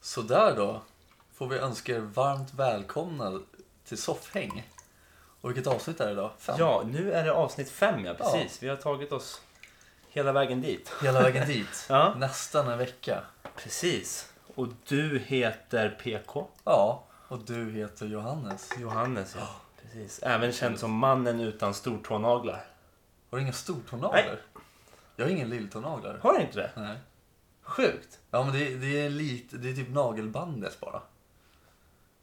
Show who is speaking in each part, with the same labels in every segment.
Speaker 1: Sådär då. Får vi önska er varmt välkomna till Soffhäng. Och vilket avsnitt är det idag? Fem?
Speaker 2: Ja, nu är det avsnitt fem, ja precis. Vi har tagit oss hela vägen dit.
Speaker 1: Hela vägen dit.
Speaker 2: Ja.
Speaker 1: Nästan en vecka.
Speaker 2: Precis. Och du heter PK.
Speaker 1: Ja, och du heter Johannes.
Speaker 2: Johannes, ja. Precis. Även känd som mannen utan stortånaglar.
Speaker 1: Har du inga stortånaglar? Jag har ingen lilltånaglar.
Speaker 2: Har du inte det?
Speaker 1: Nej.
Speaker 2: Sjukt.
Speaker 1: Ja, men det, det är lite, det är typ nagelbandet bara.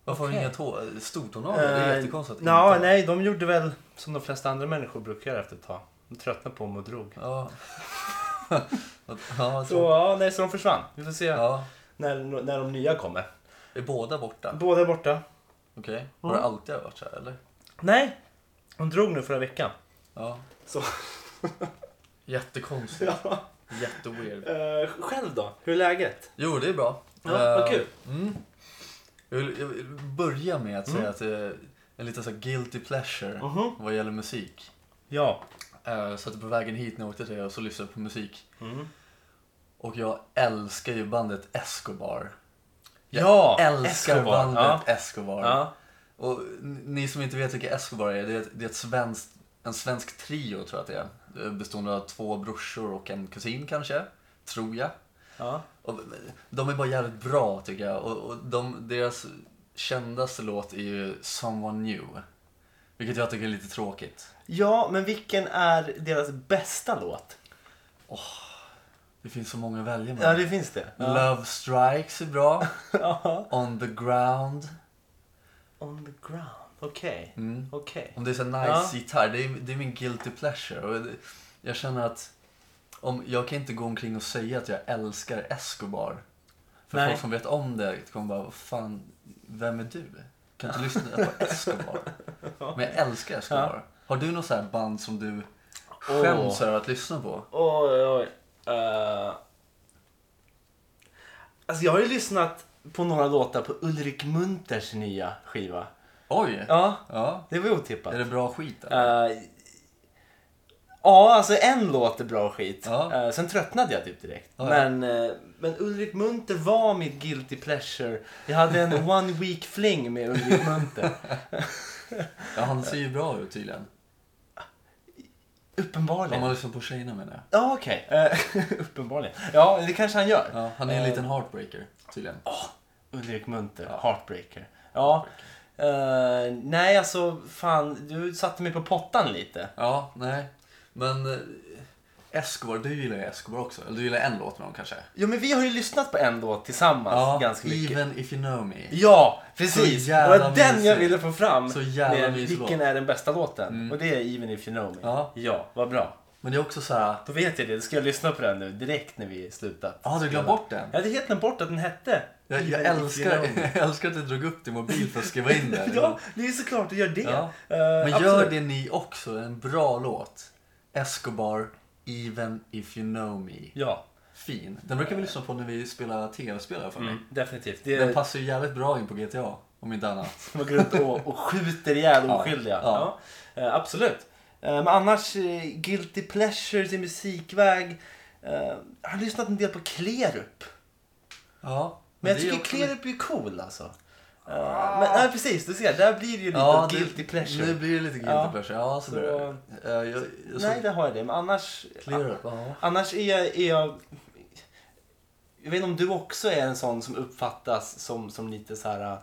Speaker 1: Varför har du
Speaker 2: Okej.
Speaker 1: inga tå, stortånaglar? Det är
Speaker 2: Eh,
Speaker 1: jättekonstigt. att
Speaker 2: Ja,
Speaker 1: inte-
Speaker 2: nej, de gjorde väl som de flesta andra människor brukar göra efter ett tag. De tröttnade på dem och drog.
Speaker 1: Ja. ja,
Speaker 2: Så,
Speaker 1: så.
Speaker 2: ja, nej, så de försvann. Vi får se
Speaker 1: ja.
Speaker 2: när, när de nya kommer.
Speaker 1: Är båda borta?
Speaker 2: Båda är borta.
Speaker 1: Okej. Har
Speaker 2: Mm.
Speaker 1: det alltid varit så här eller?
Speaker 2: Nej, de drog nu förra veckan.
Speaker 1: Ja.
Speaker 2: Så.
Speaker 1: Jättekonstigt.
Speaker 2: Ja.
Speaker 1: Jätteweird.
Speaker 2: Eh, själv då? Hur är läget?
Speaker 1: Jo, det är bra.
Speaker 2: Ja, vad
Speaker 1: Eh,
Speaker 2: kul.
Speaker 1: Mm. Jag, vill, jag vill börja med att säga att det är en liten så här guilty pleasure
Speaker 2: Mm. Mhm.
Speaker 1: vad gäller musik.
Speaker 2: Ja.
Speaker 1: Eh, Så att på vägen hit när jag åkte till er så lyssnade jag på musik.
Speaker 2: Mm.
Speaker 1: Och jag älskar ju bandet Escobar. Jag
Speaker 2: Ja,
Speaker 1: älskar
Speaker 2: Escobar.
Speaker 1: bandet Escobar.
Speaker 2: Ja.
Speaker 1: Och n- ni som inte vet vilka Escobar är, det är, ett- det är ett svenskt, en svensk trio tror jag att det är. Eh, Bestående av två brorsor och en kusin kanske, tror jag.
Speaker 2: Ja.
Speaker 1: Och eh, de är bara jävligt bra tycker jag. Och, och de, deras kändaste låt är ju Someone New. Vilket jag tycker är lite tråkigt.
Speaker 2: ja, men vilken är deras bästa låt?
Speaker 1: Det finns så många att välja
Speaker 2: Ja,
Speaker 1: mellan.
Speaker 2: det finns det. Ja.
Speaker 1: Love Strikes är bra.
Speaker 2: Ja.
Speaker 1: On the ground.
Speaker 2: On the ground. Okej.
Speaker 1: Mm.
Speaker 2: Okej.
Speaker 1: Om det är så nice
Speaker 2: Ja.
Speaker 1: gitarr, det är, det är min guilty pleasure. Och det- jag känner att om, jag kan inte gå omkring och säga att jag älskar Escobar. För
Speaker 2: Nej.
Speaker 1: folk som vet om det kommer bara, "Vad fan, vem är du? Kan inte lyssna på Escobar? Men jag älskar Escobar. Har du något så här band som du skäms över att lyssna på?
Speaker 2: Oj, oj. Eh. Alltså, jag har ju lyssnat på några låtar på Ulrik Munters nya skiva.
Speaker 1: Oj! Ja.
Speaker 2: Ja, det var otippat.
Speaker 1: Är det bra skit eller?
Speaker 2: Eh, ja, alltså en låt är bra skit.
Speaker 1: Ja.
Speaker 2: Eh, sen tröttnade jag typ direkt.
Speaker 1: Ja, ja.
Speaker 2: men, eh, men Ulrik Munter var mitt guilty pleasure. Jag hade en one week fling med Ulrik Munter.
Speaker 1: Ja, han ser ju bra ut tydligen. Om
Speaker 2: Uppenbarligen.
Speaker 1: man lyssnar på tjejerna menar jag.
Speaker 2: Ja, okej. Eh, uppenbarligen. Ja, det kanske han gör.
Speaker 1: Ja, han är en
Speaker 2: Eh,
Speaker 1: liten heartbreaker tydligen.
Speaker 2: Ulrik Munter, Heartbreaker. Ja. Eh, nej, alltså fan, du satte mig på pottan lite.
Speaker 1: Ja, nej. Men eh, Escobar, du gillar ju Escobar också. Eller du gillar en låt med honom kanske?
Speaker 2: Jo, men vi har ju lyssnat på en låt tillsammans ganska mycket.
Speaker 1: Even if you know me.
Speaker 2: Ja, precis.
Speaker 1: Så
Speaker 2: Det
Speaker 1: jävla
Speaker 2: var den jag
Speaker 1: mysig.
Speaker 2: ville få fram.
Speaker 1: Så jävla
Speaker 2: med
Speaker 1: mysig
Speaker 2: vilken
Speaker 1: låt. Mm.
Speaker 2: är den bästa låten? Och det är Even if you know me.
Speaker 1: Ja.
Speaker 2: vad bra.
Speaker 1: Men det är också så här.
Speaker 2: Då vet jag det. Då ska jag lyssna på den nu direkt när vi slutat.
Speaker 1: Ja, du glömde
Speaker 2: spela.
Speaker 1: bort den?
Speaker 2: Jag hade helt glömt bort att den hette
Speaker 1: Jag, jag,
Speaker 2: Even if you
Speaker 1: älskar,
Speaker 2: know me.
Speaker 1: jag älskar att du drog upp din mobil för att skriva in det.
Speaker 2: ja, det är ju såklart du gör det.
Speaker 1: Ja.
Speaker 2: Eh,
Speaker 1: Men gör
Speaker 2: absolut.
Speaker 1: det ni också. En bra låt. Escobar, Even if you know me.
Speaker 2: Ja,
Speaker 1: Fin. Den brukar vi lyssna på när vi spelar tv-spel här för mig.
Speaker 2: definitivt. Det
Speaker 1: Den
Speaker 2: är,
Speaker 1: passar ju jävligt bra in på GTA. Om inte annat.
Speaker 2: man går runt och, och skjuter ihjäl oskyldiga.
Speaker 1: ja.
Speaker 2: Eh, absolut. Eh, men annars, eh, guilty pleasures i musikväg. Eh, jag har lyssnat en del på Klerup.
Speaker 1: Ja.
Speaker 2: Men jag
Speaker 1: det är
Speaker 2: tycker
Speaker 1: också-
Speaker 2: Klerup är ju cool alltså. Eh, men, nej, precis, du ser, där blir det ju lite
Speaker 1: Ja,
Speaker 2: guilty
Speaker 1: det,
Speaker 2: pleasure.
Speaker 1: Nu blir det lite guilty
Speaker 2: Ja.
Speaker 1: pleasure. Ja,
Speaker 2: Så-
Speaker 1: så, blir det. Eh, jag, jag,
Speaker 2: nej,
Speaker 1: så,
Speaker 2: det har jag det. Men annars,
Speaker 1: clear up. Ja.
Speaker 2: annars är, jag, är jag... Jag vet inte om du också är en sån som uppfattas som, som lite så här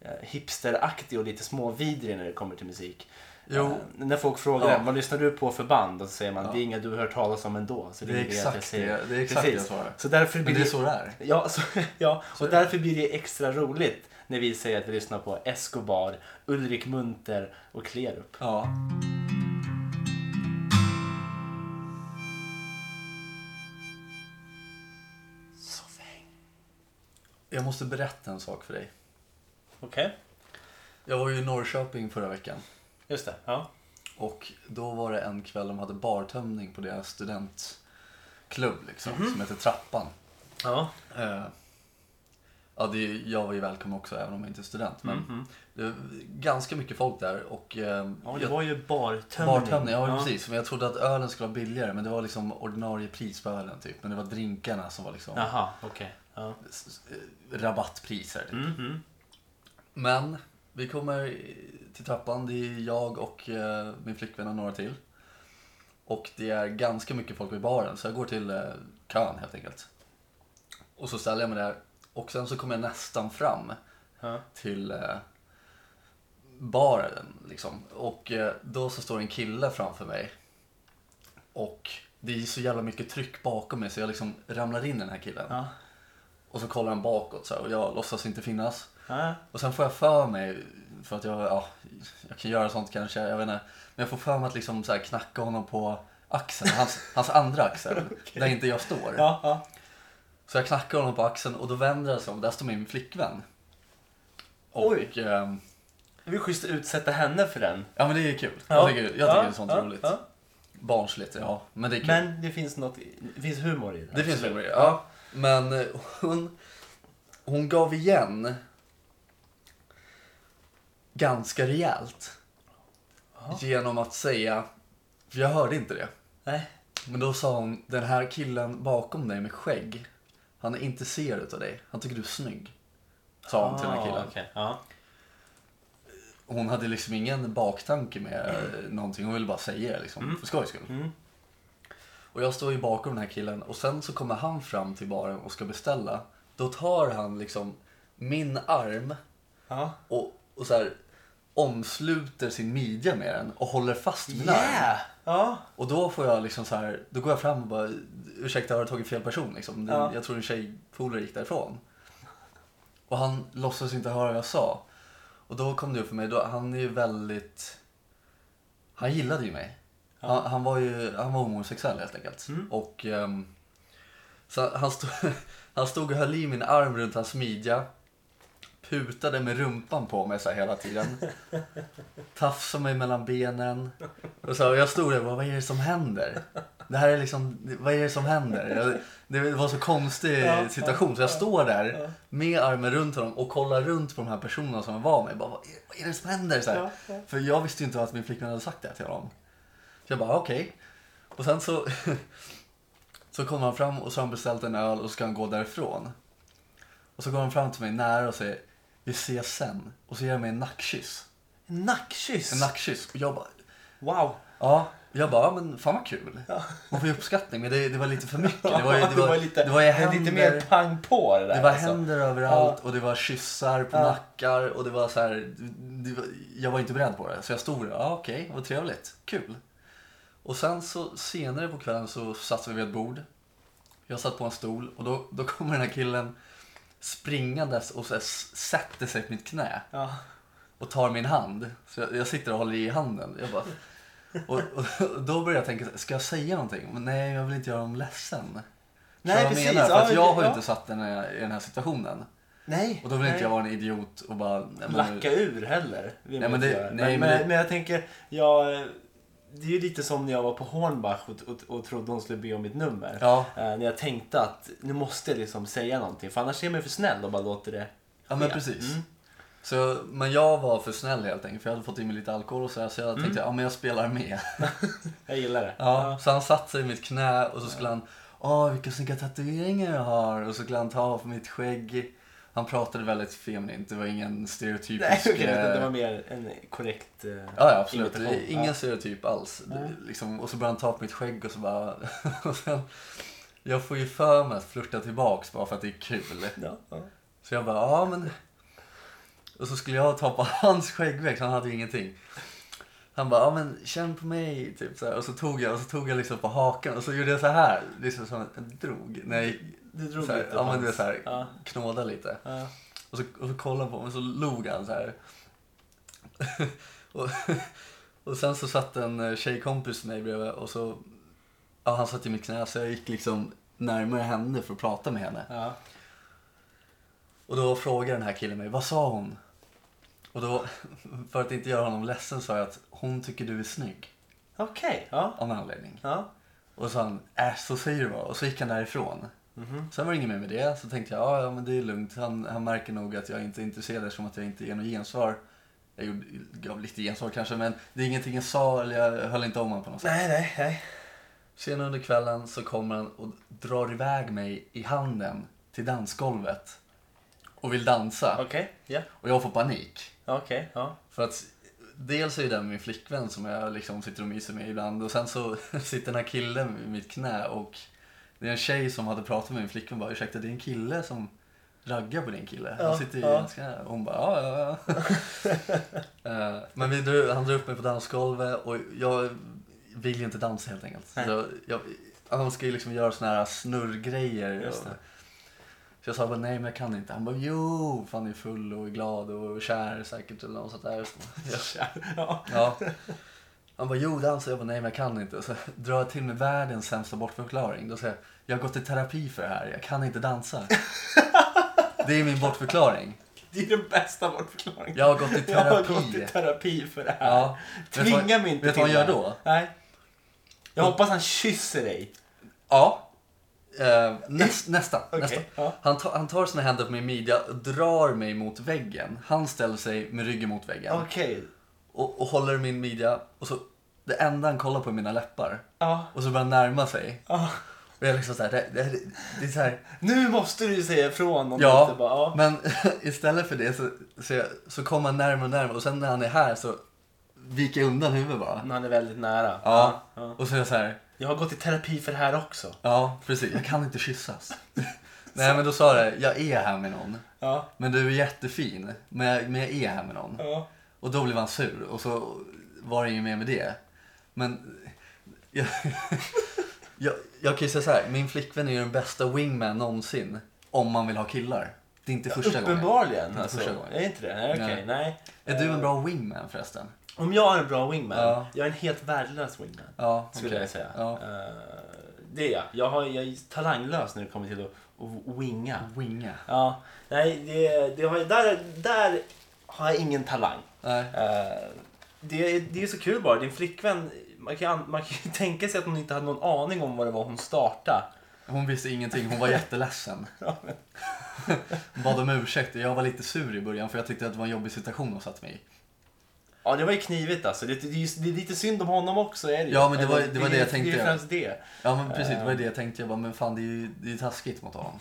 Speaker 2: eh, hipsteraktig och lite småvidrig när det kommer till musik.
Speaker 1: Jo.
Speaker 2: Eh, när folk frågar
Speaker 1: Ja.
Speaker 2: en, vad lyssnar du på för band? Och så säger man,
Speaker 1: Ja.
Speaker 2: det är inga du har hört talas om ändå. Så
Speaker 1: Det är
Speaker 2: inget jag
Speaker 1: exakt
Speaker 2: säger.
Speaker 1: det- det är exakt det jag
Speaker 2: Precis.
Speaker 1: svarar.
Speaker 2: Så därför blir
Speaker 1: Men det är så det är.
Speaker 2: Ja, så, ja och därför blir det extra roligt när vi säger att vi lyssnar på Escobar, Ulrik Munter och Klerup.
Speaker 1: Ja. Jag måste berätta en sak för dig.
Speaker 2: Okej,
Speaker 1: Jag var ju i Norrköping förra veckan
Speaker 2: just det. Ja.
Speaker 1: och då var det en kväll de hade bartömning på deras studentklubb liksom,
Speaker 2: Mhm.
Speaker 1: som heter Trappan.
Speaker 2: Ja.
Speaker 1: Eh, ja, det är, jag var ju välkommen också även om jag inte är student.
Speaker 2: Mm,
Speaker 1: Men det var ganska mycket folk där och eh,
Speaker 2: ja, det
Speaker 1: jag-
Speaker 2: var ju bartömning.
Speaker 1: Bartömning, ja, precis. Men jag trodde att ölen skulle vara billigare men det var liksom ordinarie pris på ölen typ. Men det var drinkarna som var liksom
Speaker 2: Jaha, okej. Ja.
Speaker 1: s- s- eh, rabattpriser. Typ.
Speaker 2: Mhm.
Speaker 1: Men vi kommer eh, till trappan. Det är jag och eh, min flickvän och några till. Och det är ganska mycket folk vid baren så jag går till eh, kön helt enkelt. Och så ställer jag mig där och sen så kommer jag nästan fram
Speaker 2: Ja.
Speaker 1: till eh, baren. Liksom. Och eh, då så står en kille framför mig. Och det är så jävla mycket tryck bakom mig så jag liksom ramlar in i den här killen.
Speaker 2: Ja.
Speaker 1: Och så kollar han bakåt så här, och jag låtsas inte finnas.
Speaker 2: Ja.
Speaker 1: Och sen får jag för mig, för att jag, ja, jag kan göra sånt kanske, jag vet inte. Men jag får för mig att liksom så här knacka honom på axeln, hans, hans andra axel, där inte jag står.
Speaker 2: Ja. Ja.
Speaker 1: Så jag knackar honom på axeln och då vänder jag sig om och där står min flickvän. Och,
Speaker 2: Oj.
Speaker 1: ehm,
Speaker 2: Det är schysst att utsätta henne för den.
Speaker 1: ja men det är kul. Jag tycker, jag tycker det är sånt
Speaker 2: ja,
Speaker 1: roligt.
Speaker 2: ja.
Speaker 1: Barnsligt, ja. Men det är kul.
Speaker 2: Men det finns något, det finns humor i det.
Speaker 1: Det finns humor i det, ja. Men eh, hon, hon gav igen ganska rejält.
Speaker 2: Jaha.
Speaker 1: Genom att säga, för jag hörde inte det.
Speaker 2: Nej.
Speaker 1: Men då sa hon, den här killen bakom dig med skägg, han är intresserad utav dig. Han tycker du är snygg. Sa hon till den här killen.
Speaker 2: Ah, okej. Ja.
Speaker 1: Hon hade liksom ingen baktanke med eh, någonting. Hon ville bara säga det liksom, för skojs skull.
Speaker 2: Mm.
Speaker 1: Och jag står ju bakom den här killen och sen så kommer han fram till baren och ska beställa. Då tar han liksom min arm
Speaker 2: Ja.
Speaker 1: och, och så här omsluter sin midja med den och håller fast min arm.
Speaker 2: Yeah! Ja.
Speaker 1: Och då får jag liksom så här, då går jag fram och bara ursäkta har du tagit fel person liksom. Det-
Speaker 2: Ja.
Speaker 1: Jag tror en tjejpolare gick därifrån. Och han låtsas inte höra vad jag sa. Och då kom det upp för mig, då, han är ju väldigt, han gillade ju mig. Han, han var ju han var homosexuell helt enkelt.
Speaker 2: Mm.
Speaker 1: Och ehm, så han, stod, han stod och höll i min arm runt hans midja. Putade med rumpan på mig så här hela tiden. Tafsade mig mellan benen. Och så, och jag stod där och bara, vad är det som händer? Det här är liksom, vad är det som händer? Jag, det var så konstig
Speaker 2: Ja,
Speaker 1: situation. Så jag står
Speaker 2: ja.
Speaker 1: där med armen runt honom och kollar runt på de här personerna som var med. Bara, vad, är, vad är det som händer? Så här.
Speaker 2: Ja, ja.
Speaker 1: För jag visste ju inte att min flickvän hade sagt det här till honom. Så jag bara, okej. Och sen så, så kommer han fram och så har han beställt en öl och så ska han gå därifrån. Och så går han fram till mig nära och säger, vi ses sen. Och så ger han mig en nackkyss.
Speaker 2: En nackkyss.
Speaker 1: En nackkyss. Och jag bara,
Speaker 2: Wow.
Speaker 1: ja. Jag bara, ja, men fan vad kul. Man får ju uppskattning, men det, det var lite för mycket. Det var, ju-
Speaker 2: det var lite,
Speaker 1: det var ju
Speaker 2: lite
Speaker 1: händer,
Speaker 2: mer pang på det där.
Speaker 1: det var
Speaker 2: alltså.
Speaker 1: händer överallt och det var kyssar på
Speaker 2: Ja.
Speaker 1: nackar och det var så här, det var, jag var inte beredd på det. Så jag stod där, ah, okej, vad trevligt, kul. Och sen så senare på kvällen så satt vi vid ett bord. Jag satt på en stol och då, då kommer den här killen springandes och så här, s- sätter sig på mitt knä
Speaker 2: Ja.
Speaker 1: och tar min hand. Så jag, jag sitter och håller i handen. Jag bara, och, och, och då börjar jag tänka, så här, ska jag säga någonting? Men nej, jag vill inte göra dem ledsen.
Speaker 2: Nej,
Speaker 1: Förstår du vad
Speaker 2: precis.
Speaker 1: Jag, menar? För
Speaker 2: Ja,
Speaker 1: att jag har ju
Speaker 2: ja.
Speaker 1: inte satt den här, i den här situationen.
Speaker 2: Nej.
Speaker 1: Och då vill inte
Speaker 2: nej.
Speaker 1: jag vara en idiot och bara... nej, men-
Speaker 2: lacka ur heller. vill
Speaker 1: Nej,
Speaker 2: man
Speaker 1: men
Speaker 2: inte
Speaker 1: det-
Speaker 2: göra.
Speaker 1: nej,
Speaker 2: men,
Speaker 1: men
Speaker 2: men,
Speaker 1: det-
Speaker 2: men jag tänker, jag, det är ju lite som när jag var på Hornbach och, och, och trodde hon skulle be om mitt nummer.
Speaker 1: Ja.
Speaker 2: Eh, när jag tänkte att nu måste jag liksom säga någonting för annars är man ju för snäll och bara låter det
Speaker 1: Ja, men
Speaker 2: ske.
Speaker 1: precis.
Speaker 2: Mm.
Speaker 1: Så, men jag var för snäll helt enkelt, för jag hade fått i mig lite alkohol och så, här, så
Speaker 2: Mm.
Speaker 1: jag tänkte, ja men jag spelar med.
Speaker 2: Jag gillar det.
Speaker 1: Ja, så han satte sig i mitt knä och så skulle han, åh vilka snygga tatueringar jag har. Och så skulle han ta av mitt skägg. Han pratade väldigt feminint, det var ingen stereotypisk...
Speaker 2: Nej, okej, det,
Speaker 1: eh,
Speaker 2: det var mer en korrekt eh,
Speaker 1: Ja, ja absolut.
Speaker 2: imitation.
Speaker 1: Ingen
Speaker 2: Ja.
Speaker 1: stereotyp alls. Det, liksom, och så började han ta på mitt skägg och så bara... och sen, jag får ju för mig att flirta tillbaks bara för att det är kul.
Speaker 2: Ja, ja.
Speaker 1: Så jag bara, ja men... Och så skulle jag ta på hans skäggväxt, han hade ju ingenting. Han bara, ja men känn på mig, typ så här. Och så tog jag, och så tog jag liksom på hakan och så gjorde jag så här. Liksom som jag drog. Nej,
Speaker 2: Du drog
Speaker 1: så här,
Speaker 2: lite
Speaker 1: ja men du vet
Speaker 2: hans-
Speaker 1: så här,
Speaker 2: Ja.
Speaker 1: knåda lite.
Speaker 2: Ja.
Speaker 1: Och så, och så kollade han på mig och så log han så här. och, och sen så satt en eh, tjejkompis med mig bredvid och så, ja han satt i mitt knä så jag gick liksom närmare henne för att prata med henne.
Speaker 2: Ja.
Speaker 1: Och då frågade den här killen mig, vad sa hon? Och då, för att inte göra honom ledsen, sa jag att hon tycker du är snygg.
Speaker 2: Okej, ja.
Speaker 1: Av en anledning.
Speaker 2: ja.
Speaker 1: Och så sa han, äh så säger du bara. Och så gick han därifrån.
Speaker 2: Mhm.
Speaker 1: Sen var det inget mer med det. Så tänkte jag, ja, ja men det är lugnt. Han, han märker nog att jag inte är intresserad eftersom att jag inte ger något gensvar. Jag gjorde, gav lite gensvar kanske, men det är ingenting jag sa eller jag höll inte om honom på något sätt.
Speaker 2: Nej, nej, nej.
Speaker 1: Sen under kvällen så kommer han och drar iväg mig i handen till dansgolvet och vill dansa.
Speaker 2: Okej, ja.
Speaker 1: Och jag får panik.
Speaker 2: Okej, ja.
Speaker 1: För att dels är ju den min flickvän som jag liksom sitter och myser med ibland och sen så sitter den här killen vid mitt knä och det är en tjej som hade pratat med min flickvän och bara ursäkta det är en kille som raggar på din kille.
Speaker 2: Ja,
Speaker 1: han sitter i
Speaker 2: ja.
Speaker 1: hans knä. Och hon bara ja ja ja. Eh, Men vi drog, han drog upp mig på dansgolvet och jag vill ju inte dansa helt enkelt. Så
Speaker 2: Nej.
Speaker 1: jag, jag, han ska ju liksom göra såna här snurrgrejer.
Speaker 2: Just det.
Speaker 1: Och, så jag sa bara nej men jag kan inte. Han bara jo, för han är full och är glad och kär säkert eller något sånt där. Ja.
Speaker 2: Ja.
Speaker 1: Ja. Han bara, jo dansa. Jag bara, nej men jag kan inte. Och så drar jag till med världens sämsta bortförklaring. Då säger jag, jag har gått i terapi för det här. Jag kan inte dansa. Det är min bortförklaring.
Speaker 2: Det är den bästa bortförklaringen.
Speaker 1: Jag har gått i
Speaker 2: Jag har gått i
Speaker 1: terapi.
Speaker 2: terapi för det här.
Speaker 1: Ja. Vet du vad-
Speaker 2: Tvinga mig inte
Speaker 1: Vet du vad han
Speaker 2: till
Speaker 1: gör
Speaker 2: det.
Speaker 1: då?
Speaker 2: Nej. Jag hoppas han kysser dig.
Speaker 1: Ja. Eh, näst, nästa. nästa.
Speaker 2: Ja.
Speaker 1: Han, tar- han tar sina händer på min midja och drar mig mot väggen. Han ställer sig med ryggen mot väggen.
Speaker 2: Okej.
Speaker 1: Och, och håller min midja. Och så, det enda han kollar på är mina läppar.
Speaker 2: Ja.
Speaker 1: Och så börjar han närma sig.
Speaker 2: ja.
Speaker 1: Och jag är liksom så här, det, det, det är så här,
Speaker 2: Nu måste du ju säga ifrån om du
Speaker 1: ja,
Speaker 2: inte bara... Ja.
Speaker 1: men istället för det så, så, jag- så kommer han närmare och närmare och sen när han är här så viker jag undan huvudet bara.
Speaker 2: Men han är väldigt nära.
Speaker 1: Ja,
Speaker 2: Mm. ja.
Speaker 1: och så är jag så här,
Speaker 2: Jag har gått i terapi för det här också.
Speaker 1: ja precis, jag kan inte kyssas. Nej men då sa det, jag är här med någon.
Speaker 2: Ja.
Speaker 1: Men du är jättefin, men jag, men jag är här med någon.
Speaker 2: Ja.
Speaker 1: Och då blev han sur och så var det inget mer med det. Men jag, jag, jag kan ju säga så här, min flickvän är ju den bästa wingman någonsin om man vill ha killar. Det är inte första gången.
Speaker 2: Uppenbarligen.
Speaker 1: Inte
Speaker 2: Alltså.
Speaker 1: första gången.
Speaker 2: Är inte det? Nej, Okej,
Speaker 1: Nej.
Speaker 2: nej.
Speaker 1: Är du en bra wingman förresten?
Speaker 2: Om jag är en bra wingman,
Speaker 1: Ja.
Speaker 2: jag är en helt värdelös wingman.
Speaker 1: Ja,
Speaker 2: Skulle
Speaker 1: okej.
Speaker 2: jag säga.
Speaker 1: Ja.
Speaker 2: Eh, det är jag. Jag, har, jag är talanglös när det kommer till att, att winga.
Speaker 1: Winga.
Speaker 2: Ja, nej, det, det har, där, där har jag ingen talang.
Speaker 1: Nej.
Speaker 2: Eh, det, är- det är ju så kul bara, din flickvän, man kan, ju an- man kan ju tänka sig att hon inte hade någon aning om vad det var hon startade.
Speaker 1: Hon visste ingenting, hon var jätteledsen.
Speaker 2: Ja,
Speaker 1: Bad om ursäkt och jag var lite sur i början för jag tyckte att det var en jobbig situation hon satt mig i.
Speaker 2: Ja, det var ju knivigt alltså. Det, det, det, är ju- det är lite synd om honom också. Är det ju.
Speaker 1: Ja, men det var-
Speaker 2: Eller,
Speaker 1: det var det jag tänkte.
Speaker 2: Det är ju främst det.
Speaker 1: Ja men precis, det var ju det jag tänkte. Jag bara, men fan det är ju det är ju taskigt mot honom.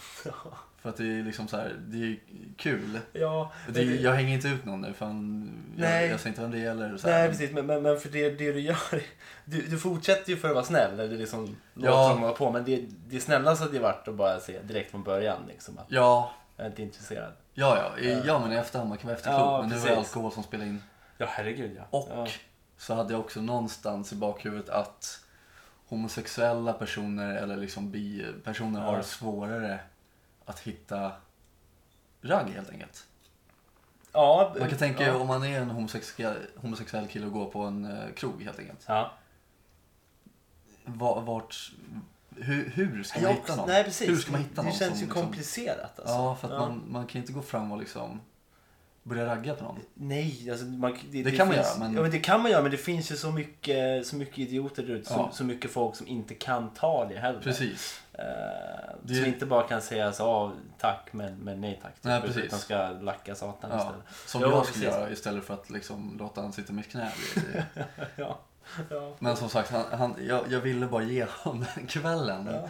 Speaker 1: För att det är ju liksom så här, det är ju kul.
Speaker 2: Ja, men
Speaker 1: Det är, ju-
Speaker 2: det-
Speaker 1: jag hänger inte ut någon nu för han,
Speaker 2: Nej.
Speaker 1: Jag, jag säger inte vem det är eller så här.
Speaker 2: Nej precis, men, men, men för det, det du gör, du, du fortsätter ju för att vara snäll. Eller liksom,
Speaker 1: Ja.
Speaker 2: låter som att vara på, men det, det snällaste hade ju varit att bara säga direkt från början liksom, att
Speaker 1: Ja,
Speaker 2: jag är inte intresserad.
Speaker 1: ja, ja, i- ja men i efterhand man kan vara efterklok.
Speaker 2: Ja,
Speaker 1: men nu var
Speaker 2: precis.
Speaker 1: det alkohol som spelade in.
Speaker 2: Ja, herregud ja.
Speaker 1: Och
Speaker 2: ja.
Speaker 1: så hade jag också någonstans i bakhuvudet att homosexuella personer eller liksom bi-personer
Speaker 2: Ja.
Speaker 1: har svårare att hitta ragg helt enkelt.
Speaker 2: Ja,
Speaker 1: Man kan tänka
Speaker 2: ja.
Speaker 1: om man är en homosexuell, homosexuell kille och går på en eh, krog helt enkelt.
Speaker 2: Ja.
Speaker 1: Va- Vart, hur, hur ska man
Speaker 2: Jag
Speaker 1: hitta
Speaker 2: också-
Speaker 1: någon?
Speaker 2: Nej, precis.
Speaker 1: Hur ska man hitta
Speaker 2: det
Speaker 1: någon
Speaker 2: Det känns
Speaker 1: som
Speaker 2: ju
Speaker 1: liksom-
Speaker 2: komplicerat. Alltså.
Speaker 1: Ja, för att Man, man kan ju inte gå fram och liksom börja ragga på någon.
Speaker 2: Nej, alltså, man,
Speaker 1: Det kan man
Speaker 2: finns,
Speaker 1: göra, men-
Speaker 2: Ja, men det kan man göra, men det finns ju så mycket, så mycket idioter där ute.
Speaker 1: Ja.
Speaker 2: Så, så mycket folk som inte kan ta det heller.
Speaker 1: Precis.
Speaker 2: Eh,
Speaker 1: Det-
Speaker 2: Som inte bara kan säga så, "Ja, tack, men, men nej tack. Typ,
Speaker 1: Nej, precis.
Speaker 2: Utan ska lacka satan
Speaker 1: Ja,
Speaker 2: istället.
Speaker 1: som
Speaker 2: Ja,
Speaker 1: jag
Speaker 2: precis.
Speaker 1: skulle göra istället för att liksom låta han sitta med knä.
Speaker 2: Ja. Ja.
Speaker 1: Men som sagt, han, han, jag, jag ville bara ge honom den kvällen. Ja,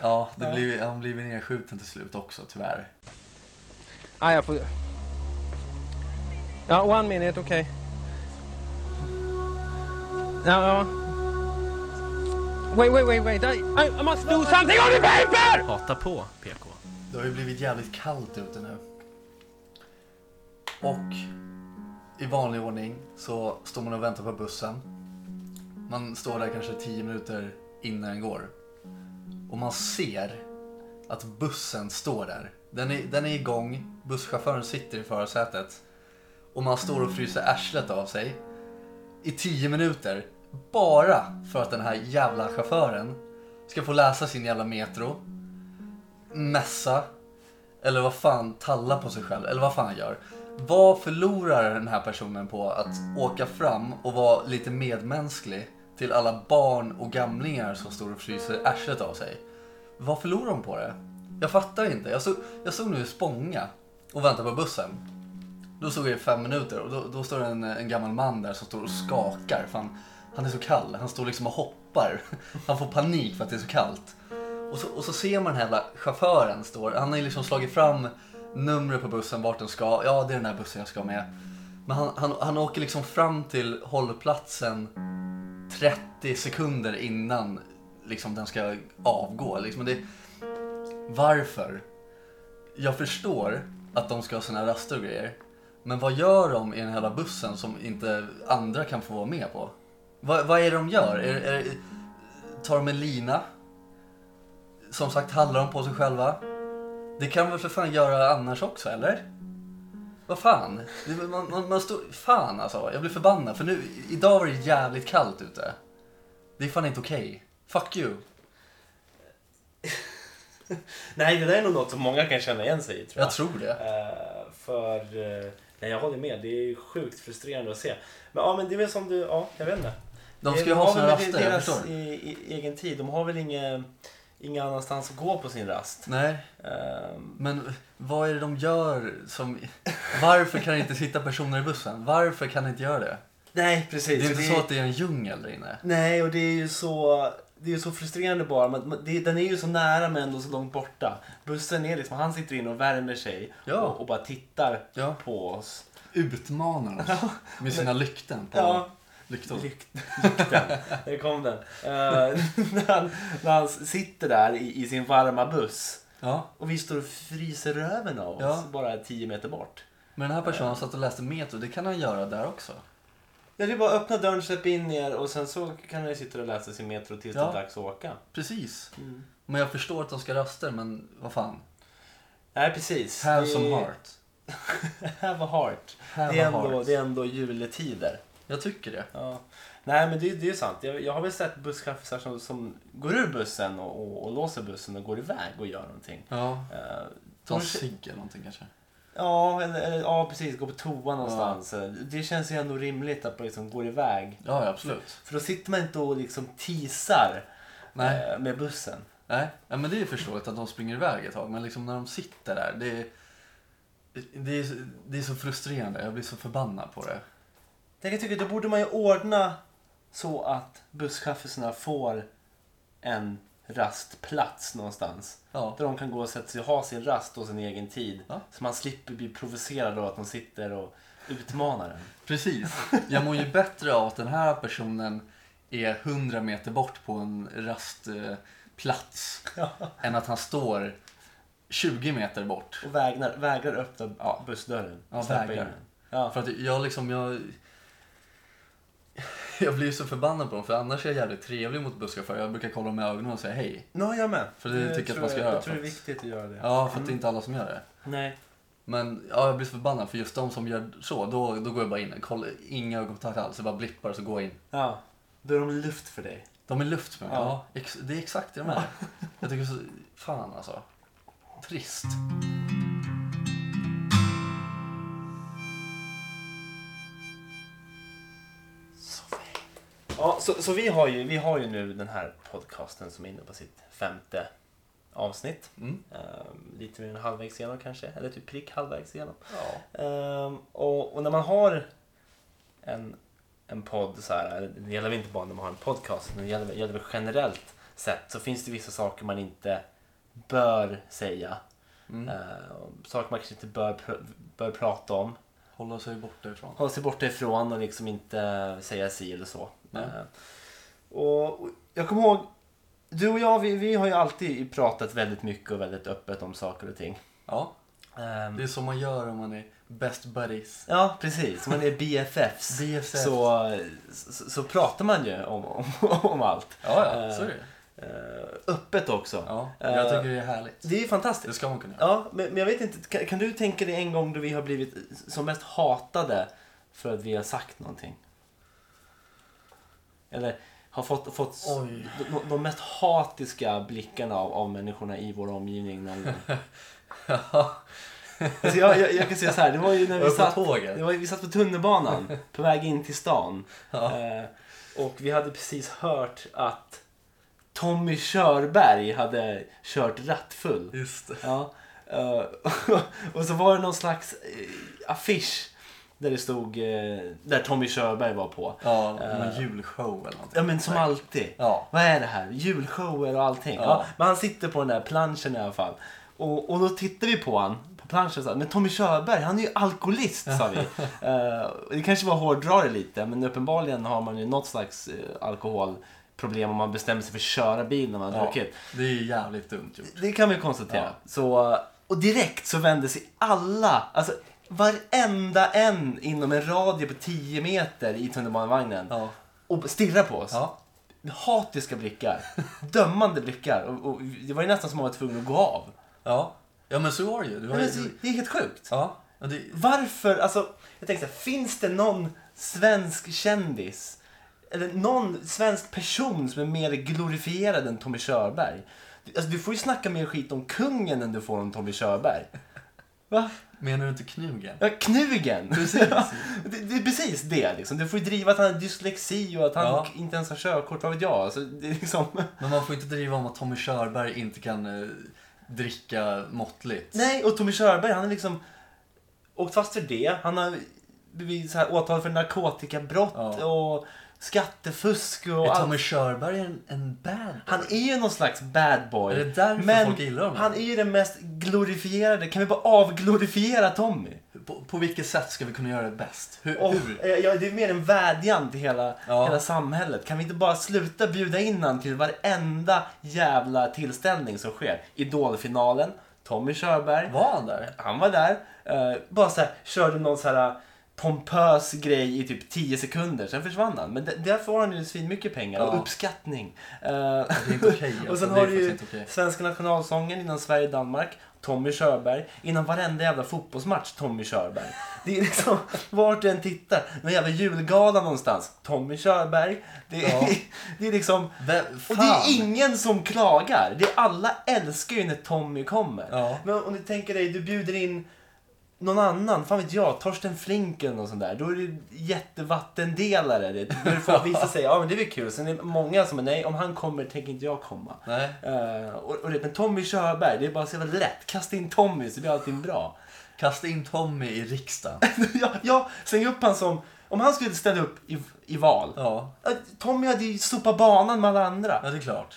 Speaker 2: Ja.
Speaker 1: det
Speaker 2: Ja.
Speaker 1: Blev, han blev nedskjuten till slut också tyvärr.
Speaker 3: Ah, jag får... Ja, one minute, okej. Ja, ja. Wait, wait, wait, wait. I, I must do something on the paper!
Speaker 2: Hata på PK.
Speaker 1: Det har ju blivit jävligt kallt ute nu. Och i vanlig ordning så står man och väntar på bussen. Man står där kanske 10 minuter innan den går. Och man ser att bussen står där. Den är, den är igång, busschauffören sitter i förarsätet. Och man står och fryser arslet av sig i 10 minuter. Bara för att den här jävla chauffören ska få läsa sin jävla Metro mässa eller vad fan talla på sig själv eller vad fan han gör. Vad förlorar den här personen på att åka fram och vara lite medmänsklig till alla barn och gamlingar som står och fryser arslet av sig? Vad förlorar hon på det? Jag fattar inte. Jag, så, jag såg nu i Spånga och väntade på bussen. Då såg jag i fem minuter och då, då står det en, en gammal man där som står och skakar. Fan, han är så kall. Han står liksom och hoppar. Han får panik för att det är så kallt. Och så, och så ser man den här jävla chauffören står. Han har ju liksom slagit fram numret på bussen, vart den ska. Ja, det är den här bussen jag ska med. Men han, han, han åker liksom fram till hållplatsen 30 sekunder innan liksom den ska avgå. Liksom det, varför? Jag förstår att de ska ha sina raster och grejer. Men vad gör de i den här jävla bussen som inte andra kan få vara med på? Vad, vad är det de gör? Är, är, tar de en lina? Som sagt, handlar de på sig själva? Det kan väl för fan göra annars också, eller? Vad fan? Det- Man, man, man står... Fan alltså, jag blir förbannad för nu, idag var det jävligt kallt ute. Det är fan inte okej. Fuck you.
Speaker 2: Nej, det där är nog något som många kan känna igen sig i tror jag.
Speaker 1: Jag tror det.
Speaker 2: Eh, för... eh, nej, jag håller med. Det är sjukt frustrerande att se. Men ja, men det är väl som du... Ja, jag vet inte.
Speaker 1: De ska
Speaker 2: Det-
Speaker 1: ju ha
Speaker 2: har
Speaker 1: sina
Speaker 2: väl
Speaker 1: raster, jag
Speaker 2: deras
Speaker 1: förstår.
Speaker 2: i, i, egen tid. De har väl inge, ingen annanstans att gå på sin rast.
Speaker 1: Nej,
Speaker 2: Ehm,
Speaker 1: men vad är det de gör som... Varför kan det inte sitta personer i bussen? Varför kan det inte göra det?
Speaker 2: nej,
Speaker 1: Det
Speaker 2: precis.
Speaker 1: är
Speaker 2: Och
Speaker 1: inte så att det är en djungel där inne.
Speaker 2: Nej, och det är ju så... Det är ju så frustrerande bara. Men men det, den är ju så nära men ändå så långt borta. Bussen är liksom, han sitter inne och värmer sig
Speaker 1: Ja.
Speaker 2: och, och bara tittar
Speaker 1: Ja.
Speaker 2: på oss.
Speaker 1: Utmanar oss med sina lykten på
Speaker 2: Ja.
Speaker 1: lyktor.
Speaker 2: Lykt, lykten. Där kom den. Eh, när, han, när han sitter där i, i sin varma buss
Speaker 1: Ja.
Speaker 2: och vi står och fryser röven av oss
Speaker 1: Ja.
Speaker 2: bara 10 meter bort.
Speaker 1: Men den här personen satt och läste Metro, det kan han göra där också.
Speaker 2: Ja, det är bara att öppna dörren, släpp in er och sen så kan ni sitta och läsa sin Metro tills
Speaker 1: Ja.
Speaker 2: det är dags att åka.
Speaker 1: Precis. Men jag förstår att de ska ha raster, men vad fan.
Speaker 2: Nej, precis.
Speaker 1: Have
Speaker 2: Det-
Speaker 1: some heart.
Speaker 2: Have a heart.
Speaker 1: Have
Speaker 2: det, är
Speaker 1: a
Speaker 2: ändå,
Speaker 1: heart.
Speaker 2: det är ändå juletider.
Speaker 1: Jag tycker det.
Speaker 2: Ja. Nej, men det, det är ju sant. Jag, jag har väl sett busschaffisar som, som går ur bussen och, och, och låser bussen och går iväg och gör någonting.
Speaker 1: Ja.
Speaker 2: Eh,
Speaker 1: Ta en
Speaker 2: de-
Speaker 1: cigg eller någonting kanske.
Speaker 2: Ja, eller, eller ja, precis. Gå på toa någonstans. Eh, Det känns ju ändå rimligt att man liksom går iväg.
Speaker 1: Ja, ja, absolut.
Speaker 2: För då sitter man inte och liksom teasar
Speaker 1: Nej.
Speaker 2: eh, med bussen.
Speaker 1: Nej, ja, men det är ju förståeligt att de springer iväg ett tag. Men liksom när de sitter där, det är, det är, så- det är så frustrerande. Jag blir så förbannad på det.
Speaker 2: Jag kan tycka då borde man ju ordna så att busschaffisarna får en rastplats någonstans.
Speaker 1: Ja.
Speaker 2: Där de kan gå och sätta sig och ha sin rast och sin egen tid.
Speaker 1: Ja.
Speaker 2: Så man slipper bli provocerad av att de sitter och utmanar en.
Speaker 1: Precis. Jag mår ju bättre av att den här personen är 100 meter bort på en rastplats än att han står 20 meter bort.
Speaker 2: Och vägrar, vägrar öppna bussdörren.
Speaker 1: Ja,
Speaker 2: Släppa
Speaker 1: vägrar.
Speaker 2: in den. Ja.
Speaker 1: För att jag liksom, jag... Jag blir ju så förbannad på dem, för annars är jag jävligt trevlig mot busschaufförer. Jag brukar kolla dem i ögonen och säga hej.
Speaker 2: No, jag med.
Speaker 1: För det tycker jag att
Speaker 2: tror
Speaker 1: man ska göra
Speaker 2: Jag tror det är
Speaker 1: faktiskt.
Speaker 2: viktigt att göra det.
Speaker 1: Ja, för att det är inte alla som gör det.
Speaker 2: Nej.
Speaker 1: Men ja, jag blir så förbannad, för just de som gör så, då, då går jag bara in. Kolla, inga ögonkontakt alls, jag bara blippar och så går jag in.
Speaker 2: Ja. Då är de luft för dig.
Speaker 1: De är luft för mig.
Speaker 2: Ja.
Speaker 1: Ja. ex- det är exakt det de är. Jag tycker så... Fan alltså. Trist.
Speaker 2: Ja, så, så vi, har ju, vi har ju nu den här podcasten som är inne på sitt femte avsnitt.
Speaker 1: Mm.
Speaker 2: Ehm, lite mer än halvvägs igenom kanske, eller typ prick halvvägs igenom.
Speaker 1: Ja.
Speaker 2: Ehm, och, och när man har en, en podd så här, eller det gäller väl inte bara när man har en podcast, men det gäller, gäller väl generellt sett så finns det vissa saker man inte bör säga.
Speaker 1: Mm. Eh,
Speaker 2: Ehm, och saker man kanske inte bör, pr- bör prata om.
Speaker 1: Hålla sig borta ifrån.
Speaker 2: hålla sig borta ifrån och liksom inte säga si eller så.
Speaker 1: Nej.
Speaker 2: Eh, Och och jag kommer ihåg, du och jag vi, vi har ju alltid pratat väldigt mycket och väldigt öppet om saker och ting.
Speaker 1: Ja,
Speaker 2: Ehm,
Speaker 1: det är så man gör om man är best buddies.
Speaker 2: Ja, precis. Man är BFFs.
Speaker 1: BFFs.
Speaker 2: Så, så, så pratar man ju om, om, om allt.
Speaker 1: Ja, ja, så är
Speaker 2: Eh,
Speaker 1: det
Speaker 2: eh, Öppet också.
Speaker 1: Ja,
Speaker 2: Eh,
Speaker 1: jag tycker det är härligt.
Speaker 2: Det är ju fantastiskt.
Speaker 1: Det ska man kunna göra.
Speaker 2: Ja, men, men jag vet inte. Kan, kan du tänka dig en gång då vi har blivit som mest hatade för att vi har sagt någonting? Eller har fått, fått s-
Speaker 1: Oj.
Speaker 2: de, de mest hatiska blickarna av, av människorna i vår omgivning. Någon gång. alltså jag, jag, jag kan säga så här, det var ju när vi
Speaker 1: Var det på
Speaker 2: satt,
Speaker 1: tåget?
Speaker 2: det var, ju- vi satt på tunnelbanan på väg in till stan.
Speaker 1: Ja.
Speaker 2: Eh, och vi hade precis hört att Tommy Körberg hade kört rattfull.
Speaker 1: Just det.
Speaker 2: Ja. eh, och så var det någon slags eh, affisch Där det stod, eh, där Tommy Körberg var på.
Speaker 1: Ja, någon
Speaker 2: Eh.
Speaker 1: julshow eller någonting.
Speaker 2: Ja men som alltid.
Speaker 1: Ja.
Speaker 2: Vad är det här? Julshower och allting. Ja.
Speaker 1: Ja.
Speaker 2: men han sitter på den där planschen i alla fall. Och, och då tittar vi på han på planschen och sa, men Tommy Körberg han är ju alkoholist sa vi. Eh, och det kanske var hårdrare lite men uppenbarligen har man ju något slags eh, alkoholproblem om man bestämmer sig för att köra bil när man har
Speaker 1: Ja,
Speaker 2: druckit.
Speaker 1: det är ju jävligt dumt gjort.
Speaker 2: Det kan vi konstatera.
Speaker 1: Ja.
Speaker 2: Så, och direkt så vände sig alla, alltså varenda en inom en radie på 10 meter i tunnelbanevagnen
Speaker 1: Ja.
Speaker 2: och stirrar på oss
Speaker 1: Ja.
Speaker 2: hatiska blickar, dömande blickar. Och, och det var ju nästan som att man var tvungen att gå av.
Speaker 1: Ja. ja, men så var det ju. Det var
Speaker 2: Nej, men
Speaker 1: ju
Speaker 2: det, det är helt sjukt.
Speaker 1: ja. Ja, det,
Speaker 2: Varför, alltså, jag tänkte så här, finns det någon svensk kändis eller någon svensk person som är mer glorifierad än Tommy Körberg? Alltså, du får ju snacka mer skit om kungen än du får om Tommy Körberg. Va?
Speaker 1: menar du inte knugen?
Speaker 2: Ja, knugen!
Speaker 1: Precis.
Speaker 2: Det, det är precis det liksom. Du får ju driva att han har dyslexi och att han
Speaker 1: Ja.
Speaker 2: inte ens har körkort, vad vet jag. Alltså, det är liksom...
Speaker 1: Men man får inte driva om att Tommy Körberg inte kan eh, dricka måttligt.
Speaker 2: Nej, och Tommy Körberg han är liksom åkt fast för det. Han har blivit så här åtalad för narkotikabrott
Speaker 1: Ja.
Speaker 2: och skattefusk och
Speaker 1: är
Speaker 2: allt.
Speaker 1: Tommy Körberg en, en bad
Speaker 2: Han är ju någon slags bad boy.
Speaker 1: Är det därför
Speaker 2: men
Speaker 1: folk gillar honom?
Speaker 2: han är ju den mest glorifierade. Kan vi bara avglorifiera Tommy?
Speaker 1: på, på vilket sätt ska vi kunna göra det bäst? Hur?
Speaker 2: Och,
Speaker 1: hur?
Speaker 2: eh, ja, det är mer en vädjan till hela,
Speaker 1: Ja.
Speaker 2: hela samhället. Kan vi inte bara sluta bjuda in han till varenda jävla tillställning som sker? Idolfinalen, Tommy Körberg.
Speaker 1: Var han där?
Speaker 2: Han var där, eh, bara så här, körde någon så här eh, pompös grej i typ 10 sekunder, sen försvann han. Men d- där får han ju svinmycket pengar och
Speaker 1: Ja.
Speaker 2: uppskattning. Eh,
Speaker 1: Det är inte okej.
Speaker 2: och
Speaker 1: alltså.
Speaker 2: sen
Speaker 1: Det
Speaker 2: har
Speaker 1: är
Speaker 2: du ju
Speaker 1: faktiskt inte okej.
Speaker 2: svenska nationalsången innan Sverige-Danmark, Tommy Körberg, innan varenda jävla fotbollsmatch, Tommy Körberg. Det är liksom, vart du än tittar, någon jävla julgala någonstans, Tommy Körberg. Det är,
Speaker 1: Ja.
Speaker 2: det är liksom...
Speaker 1: Vem-
Speaker 2: Och det
Speaker 1: fan.
Speaker 2: är ingen som klagar. Det är alla älskar ju när Tommy kommer.
Speaker 1: Ja.
Speaker 2: Men om du tänker dig, du bjuder in någon annan, fan vet jag, Torsten Flink eller något sånt där. Då är det jättevattendelare. Det, då får vissa säga, ja men det är väl kul. Sen är det många som är, nej om han kommer tänker inte jag komma.
Speaker 1: Nej.
Speaker 2: Eh, och, och det, men Tommy Körberg, det är bara så jävla lätt. Kasta in Tommy så blir allting bra.
Speaker 1: Kasta in Tommy i riksdagen.
Speaker 2: ja, ja, släng upp han som, om han skulle ställa upp i, i val.
Speaker 1: Ja.
Speaker 2: Eh, Tommy hade ju sopat banan med alla andra.
Speaker 1: ja, det är klart.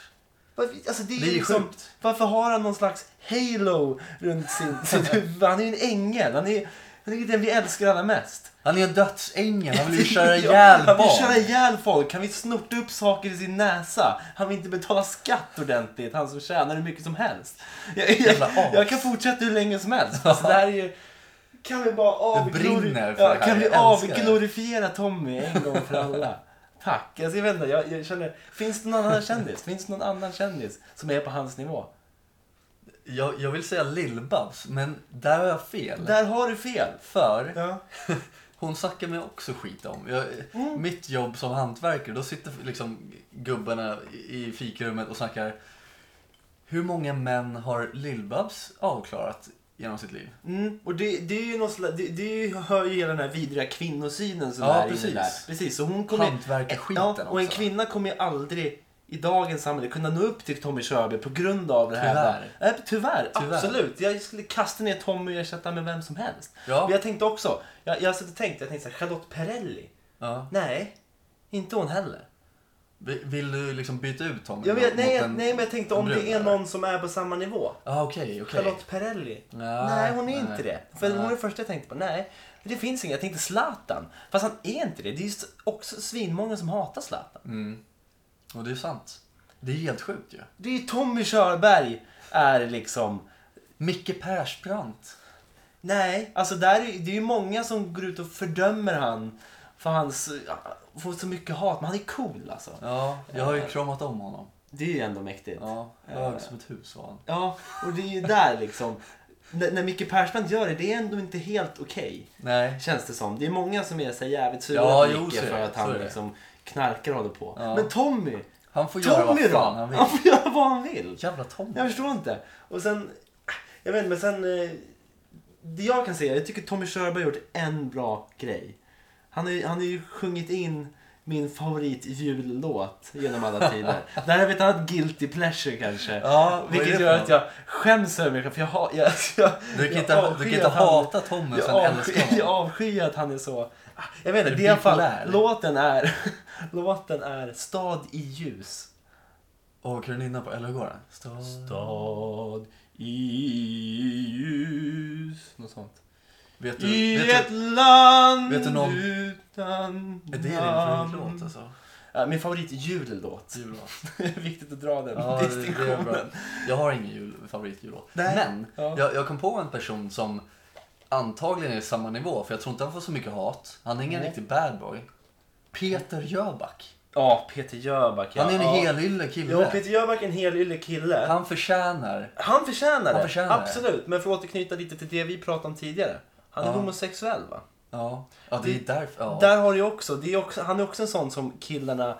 Speaker 2: Varför, alltså det är,
Speaker 1: Det är ju
Speaker 2: liksom,
Speaker 1: sjukt.
Speaker 2: Varför har han någon slags halo runt sin... Så du- han är ju en ängel. Han är, han är ju den vi älskar allra mest.
Speaker 1: Han är en dödsängel. Han vill ju köra
Speaker 2: Ja,
Speaker 1: ihjäl
Speaker 2: Han vill ju köra
Speaker 1: barn.
Speaker 2: ihjäl folk. Han vill snorta upp saker i sin näsa. Han vill inte betala skatt ordentligt. Han som tjänar hur mycket som helst. Jag,
Speaker 1: Jävla
Speaker 2: jag,
Speaker 1: as.
Speaker 2: jag kan fortsätta hur länge som helst. Alltså, det här är ju... Kan vi bara
Speaker 1: brinner
Speaker 2: avglori-
Speaker 1: för
Speaker 2: ja,
Speaker 1: det här.
Speaker 2: kan vi
Speaker 1: Jag älskar det.
Speaker 2: avglorifiera Tommy en gång för alla? Tack. Alltså, jag vet inte, jag, jag känner... Finns det någon annan kändis? Finns det någon annan kändis som är på hans nivå?
Speaker 1: Jag, jag vill säga Lill-Babs, men där har jag fel.
Speaker 2: Där har du fel.
Speaker 1: För
Speaker 2: Ja.
Speaker 1: Hon snackar mig också skit om. Jag,
Speaker 2: Mm.
Speaker 1: Mitt jobb som hantverkare, då sitter liksom gubbarna i fikarummet och snackar hur många män har Lill-Babs avklarat genom sitt liv?
Speaker 2: Mm, och det, det är ju något slags, det, det är ju- hör ju hela den här vidriga kvinnosynen som
Speaker 1: Ja,
Speaker 2: är i
Speaker 1: precis.
Speaker 2: det där. Precis. Så hon kommer,
Speaker 1: Hantverkarskiten
Speaker 2: ja, Och en
Speaker 1: också.
Speaker 2: kvinna kommer ju aldrig i dagens samhälle kunna nå upp till Tommy Körberg på grund av det här.
Speaker 1: Tyvärr.
Speaker 2: där. Nej, tyvärr.
Speaker 1: Tyvärr.
Speaker 2: Absolut. Jag skulle kasta ner Tommy och ersätta med vem som helst.
Speaker 1: Ja.
Speaker 2: Men jag tänkte också, jag, jag satt och tänkte, jag tänkte så här, Charlotte Perrelli.
Speaker 1: Ja.
Speaker 2: Nej, inte hon heller.
Speaker 1: Vi- Vill du liksom byta ut Tommy
Speaker 2: Jag vet,
Speaker 1: mot
Speaker 2: nej,
Speaker 1: en-
Speaker 2: nej, men jag tänkte
Speaker 1: en
Speaker 2: om
Speaker 1: brun,
Speaker 2: det är
Speaker 1: eller?
Speaker 2: någon som är på samma nivå.
Speaker 1: Ja, okej, okej.
Speaker 2: Charlotte Perrelli.
Speaker 1: Nej,
Speaker 2: nej, hon är
Speaker 1: nej.
Speaker 2: inte det. För hon
Speaker 1: Nej.
Speaker 2: är den första jag tänkte på. Nej, det finns ingen. Jag tänkte Zlatan. Fast han är inte det. Det är ju också svinmånga som hatar Zlatan.
Speaker 1: Mm. Och det är sant. Det är helt sjukt ju.
Speaker 2: Det är ju Tommy Körberg är liksom...
Speaker 1: Micke Persbrandt.
Speaker 2: Nej, alltså där är, det är ju många som går ut och fördömer han för hans... ja, Får så mycket hat. Men han är cool alltså.
Speaker 1: Ja, jag har ju kramat om honom.
Speaker 2: Det är ju ändå mäktigt.
Speaker 1: Ja, hög som ett hus var han.
Speaker 2: Ja, och det är ju där liksom. När, när Micke Persbrandt gör det, det är ändå inte helt okej.
Speaker 1: Nej,
Speaker 2: Känns det som. Det är många som är så jävligt sura
Speaker 1: Ja,
Speaker 2: på
Speaker 1: jo,
Speaker 2: Micke
Speaker 1: så är
Speaker 2: för
Speaker 1: det,
Speaker 2: att
Speaker 1: så är
Speaker 2: han
Speaker 1: det.
Speaker 2: liksom knarkar och håller på.
Speaker 1: Ja.
Speaker 2: Men Tommy!
Speaker 1: han får göra
Speaker 2: Tommy
Speaker 1: vad
Speaker 2: då!
Speaker 1: fan han
Speaker 2: Han,
Speaker 1: vill.
Speaker 2: får göra vad han vill.
Speaker 1: Jävla Tommy.
Speaker 2: Jag förstår inte. Och sen, jag vet inte, men sen. eh, Det jag kan säga, jag tycker Tommy Körberg har gjort en bra grej. Han har ju han har ju sjungit in min favoritjullåt genom alla tider. Det här är ett annat guilty pleasure kanske.
Speaker 1: Ja, vad är det
Speaker 2: vilket
Speaker 1: för
Speaker 2: gör
Speaker 1: något?
Speaker 2: att jag skäms över mig själv. För jag, har- jag, jag,
Speaker 1: Du kan
Speaker 2: jag
Speaker 1: inte, du
Speaker 2: avskyr
Speaker 1: kan inte
Speaker 2: att han-
Speaker 1: hata Tommy och
Speaker 2: jag
Speaker 1: sen älska
Speaker 2: avskyr, jag
Speaker 1: honom.
Speaker 2: avskyr att han är så... Ah, Jag vet inte,
Speaker 1: Är du
Speaker 2: det är i alla
Speaker 1: bipolär?
Speaker 2: fall... Låten är, låten är Stad i ljus.
Speaker 1: Och Kronina på, eller hur går den? Stad.
Speaker 2: Stad i ljus. Något sånt.
Speaker 1: Vet du,
Speaker 2: I
Speaker 1: vet
Speaker 2: ett land
Speaker 1: vet du någon-
Speaker 2: utan
Speaker 1: du, är det din
Speaker 2: namn.
Speaker 1: favoritlåt alltså?
Speaker 2: Ja, min favorit jullåt.
Speaker 1: Jullåt.
Speaker 2: Det är viktigt att dra den
Speaker 1: Ja, det, det är bra.
Speaker 2: distinktionen.
Speaker 1: Jag har ingen jul, favoritjullåt.
Speaker 2: Nej.
Speaker 1: Men
Speaker 2: Ja.
Speaker 1: jag, jag kom på en person som antagligen är i samma nivå, för jag tror inte han får så mycket hat. Han är ingen
Speaker 2: Nej.
Speaker 1: riktig bad boy. Peter Jöback.
Speaker 2: Ja, Peter Jöback. Ja.
Speaker 1: Han är en
Speaker 2: ja.
Speaker 1: helylle
Speaker 2: Ja,
Speaker 1: kille.
Speaker 2: Peter Jöback är en hel ylle kille.
Speaker 1: Han förtjänar.
Speaker 2: Han förtjänar det.
Speaker 1: Han förtjänar det.
Speaker 2: Absolut. Men för att återknyta lite till det vi pratade om tidigare. Han är
Speaker 1: Ja.
Speaker 2: homosexuell va?
Speaker 1: Ja, ja det är därför. Ja.
Speaker 2: Där har du ju också, det är också. Han är också en sån som killarna,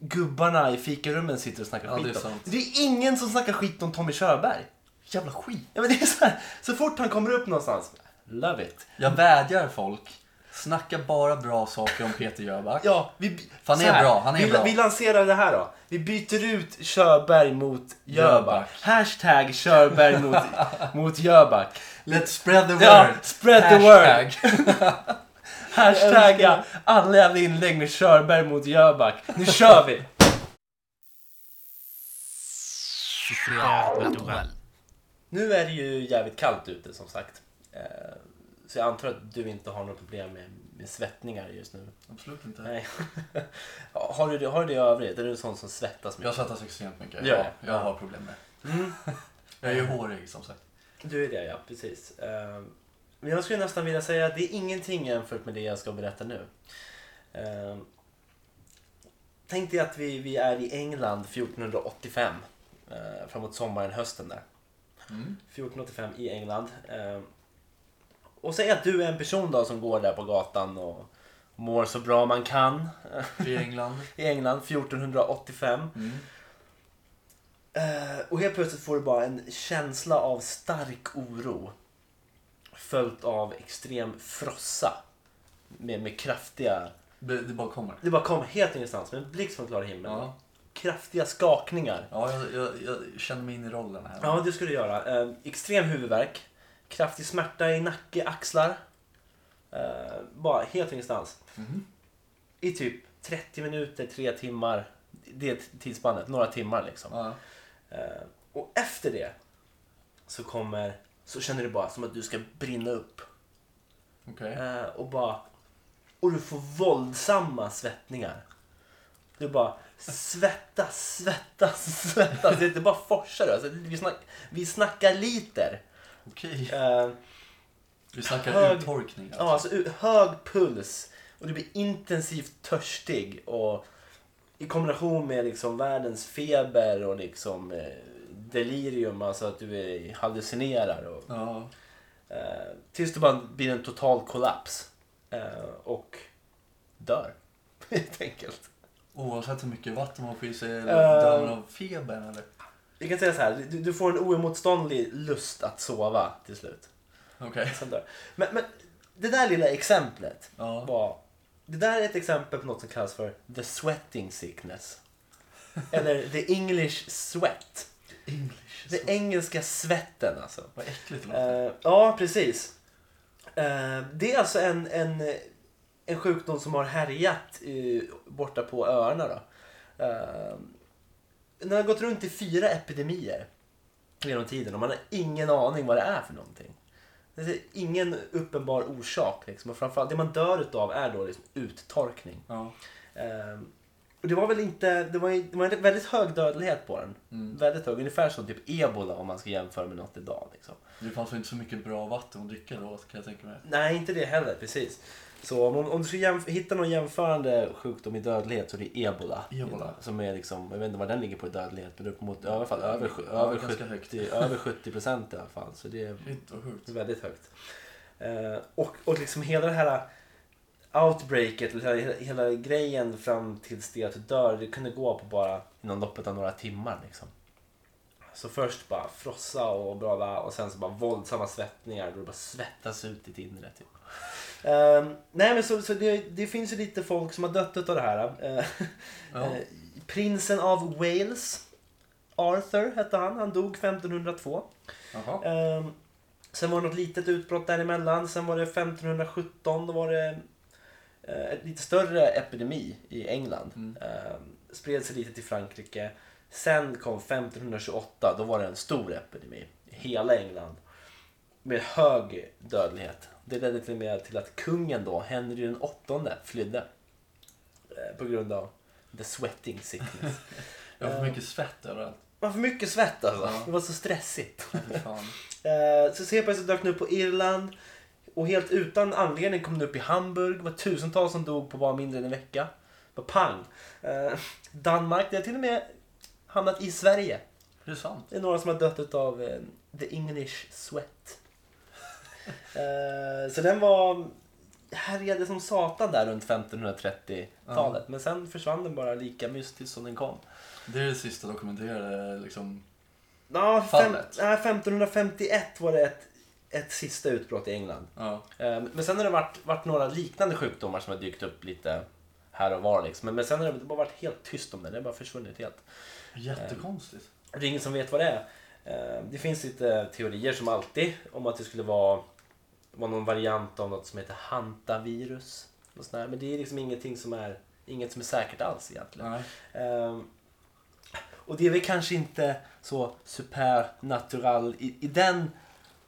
Speaker 2: gubbarna i fikarummen sitter och snackar
Speaker 1: Ja, det är
Speaker 2: skit om.
Speaker 1: sant.
Speaker 2: Det är ingen som snackar skit om Tommy Körberg.
Speaker 1: Jävla skit.
Speaker 2: Ja, men det är så, här, så fort han kommer upp någonstans, love it.
Speaker 1: Jag vädjar folk. Snacka bara bra saker om Peter Jöback.
Speaker 2: Ja, vi,
Speaker 1: För han
Speaker 2: så
Speaker 1: är
Speaker 2: här,
Speaker 1: bra, han är
Speaker 2: vi,
Speaker 1: bra.
Speaker 2: vi lanserar det här då. Vi byter ut Körberg mot Jöback.
Speaker 1: Jöback.
Speaker 2: Hashtag Körberg mot, mot Jöback.
Speaker 1: Let's spread the word.
Speaker 2: Ja, spread the
Speaker 1: Hashtag.
Speaker 2: Hashtagga alla jävla inlägg med Körberg mot Jöback. Nu kör vi! Nu är det ju jävligt kallt ute som sagt. Eh, Så jag antar att du inte har något problem med, med svettningar just nu.
Speaker 1: Absolut inte.
Speaker 2: Nej. har, du, det- har du det i övrigt? Är du en sån som svettas mycket?
Speaker 1: Jag svettas extremt mycket.
Speaker 2: Gör
Speaker 1: Ja,
Speaker 2: det?
Speaker 1: jag har problem med det.
Speaker 2: Mm.
Speaker 1: Jag är ju hårig som sagt.
Speaker 2: Du är det ja, precis. Eh, Men jag skulle nästan vilja säga att det är ingenting jämfört med det jag ska berätta nu. Eh, Tänk dig att vi, vi är i England 1485. eh, Framåt sommaren, hösten där.
Speaker 1: Mm.
Speaker 2: 1485 i England. Eh, Och säg att du är en person då som går där på gatan och mår så bra man kan. eh,
Speaker 1: I England.
Speaker 2: I England 1485.
Speaker 1: Mm.
Speaker 2: Eh, och helt plötsligt får du bara en känsla av stark oro. Följt av extrem frossa. Med, med kraftiga...
Speaker 1: Det, det bara kommer.
Speaker 2: Det bara kom helt ingenstans med en blixt från klar himmel.
Speaker 1: Ja,
Speaker 2: Kraftiga skakningar.
Speaker 1: ja jag, jag, jag känner mig in i rollen här.
Speaker 2: Ja, det ska du göra. Eh, extrem huvudvärk. Kraftig smärta i nacke, axlar. Eh, bara helt ingenstans. I typ 30 minuter, 3 timmar. Det är tidsspannet. Några timmar liksom.
Speaker 1: Ja.
Speaker 2: Eh, och efter det så kommer så känner du bara som att du ska brinna upp.
Speaker 1: Okej.
Speaker 2: Eh, och bara och du får våldsamma svettningar. Du bara svettas, svettas, svettas. Det, det bara forsar. Alltså, vi, snack, vi snackar liter.
Speaker 1: Okej.
Speaker 2: Eh,
Speaker 1: Vi snackar
Speaker 2: hög-
Speaker 1: uttorkning.
Speaker 2: ja, alltså, u- hög puls och du blir intensivt törstig. Och I kombination med liksom världens feber och liksom eh, delirium, alltså att du är, hallucinerar. Och,
Speaker 1: Ja.
Speaker 2: Eh, tills det bara blir en total kollaps. Eh, och dör. Helt enkelt.
Speaker 1: Oavsett hur mycket vatten man får i sig eller
Speaker 2: Eh.
Speaker 1: dör man av febern eller?
Speaker 2: Vi kan säga så här, du, du får en oemotståndlig lust att sova till slut.
Speaker 1: Okej.
Speaker 2: Sen dör. Men, men det där lilla exemplet
Speaker 1: Ja.
Speaker 2: var... Det där är ett exempel på något som kallas för the sweating sickness. Eller the English sweat.
Speaker 1: English.
Speaker 2: Den engelska svetten alltså.
Speaker 1: Vad äckligt det låter.
Speaker 2: Eh, ja, precis. Eh, det är alltså en, en, en sjukdom som har härjat eh, borta på öarna. Då. Eh, den har gått runt i fyra epidemier genom tiden och man har ingen aning vad det är för någonting. Det är ingen uppenbar orsak. Liksom. Och framförallt, det man dör utav är då liksom uttorkning.
Speaker 1: Ja.
Speaker 2: Eh, och det var väl inte, det var, ju- det var en väldigt hög dödlighet på den. Väldigt hög, ungefär som typ ebola om man ska jämföra med något idag. Liksom.
Speaker 1: Det fanns väl inte så mycket bra vatten att dricka då kan jag tänka mig.
Speaker 2: Nej, inte det heller. Precis. Så om, om du ska jämf- hitta någon jämförande sjukdom i dödlighet så är det ebola.
Speaker 1: Ebola.
Speaker 2: Som är liksom, jag vet inte vad den ligger på i dödlighet, men uppemot i alla fall över, sju-
Speaker 1: Ja,
Speaker 2: över,
Speaker 1: ganska högt.
Speaker 2: 70, över 70 procent i alla fall. Så det är
Speaker 1: Shit vad sjukt.
Speaker 2: väldigt högt. Eh, och, och liksom hela det här eh, outbreaket, eller hela, hela grejen fram tills det att du dör, det kunde gå på bara inom loppet av några timmar. Liksom. Så först bara frossa och bla bla och sen så bara våldsamma svettningar då du bara svettas ut ditt inre. Typ. Ehm, nej men så, så det, det finns ju lite folk som har dött av det här. Eh,
Speaker 1: Ja.
Speaker 2: eh, prinsen av Wales, Arthur hette han, han dog 1502.
Speaker 1: Jaha.
Speaker 2: Ehm, sen var det något litet utbrott däremellan. Sen var det 1517, då var det eh, en lite större epidemi i England.
Speaker 1: Mm.
Speaker 2: Ehm, spred sig lite till Frankrike. Sen kom 1528, då var det en stor epidemi i hela England. Med hög dödlighet. Det ledde till och med till att kungen då, Henry den åttonde, flydde. Eh, på grund av the sweating sickness.
Speaker 1: Jag har för mycket svett överallt.
Speaker 2: Man får mycket svett alltså.
Speaker 1: Ja.
Speaker 2: Det var så stressigt.
Speaker 1: Fy Fan.
Speaker 2: Eh, Så helt plötsligt dök den upp på Irland. Och helt utan anledning kom den upp i Hamburg. Det var tusentals som dog på bara mindre än en vecka. Bara pang! Eh, Danmark, det har till och med hamnat i Sverige.
Speaker 1: Det är sant.
Speaker 2: Det är några som har dött av the English sweat. Eh, Så den var härjade som satan där runt 1530-talet. Men sen försvann den bara lika mystiskt som den kom.
Speaker 1: Det är det sista dokumenterade liksom.
Speaker 2: Ja, fem,
Speaker 1: Fallet.
Speaker 2: nej, 1551 var det ett, ett sista utbrott i England.
Speaker 1: Ja.
Speaker 2: Eh, Men sen har det varit, varit några liknande sjukdomar som har dykt upp lite här och var. Liksom. Men, men sen har det bara varit helt tyst om det. Det har bara försvunnit helt.
Speaker 1: Jättekonstigt.
Speaker 2: Och Det är ingen som vet vad det är. Eh, Det finns lite teorier som alltid om att det skulle vara, vara någon variant av något som heter hantavirus. Och sånt där. Men det är liksom ingenting som är, inget som är säkert alls egentligen.
Speaker 1: Nej.
Speaker 2: Ehm, och det är väl kanske inte så supernatural i, i den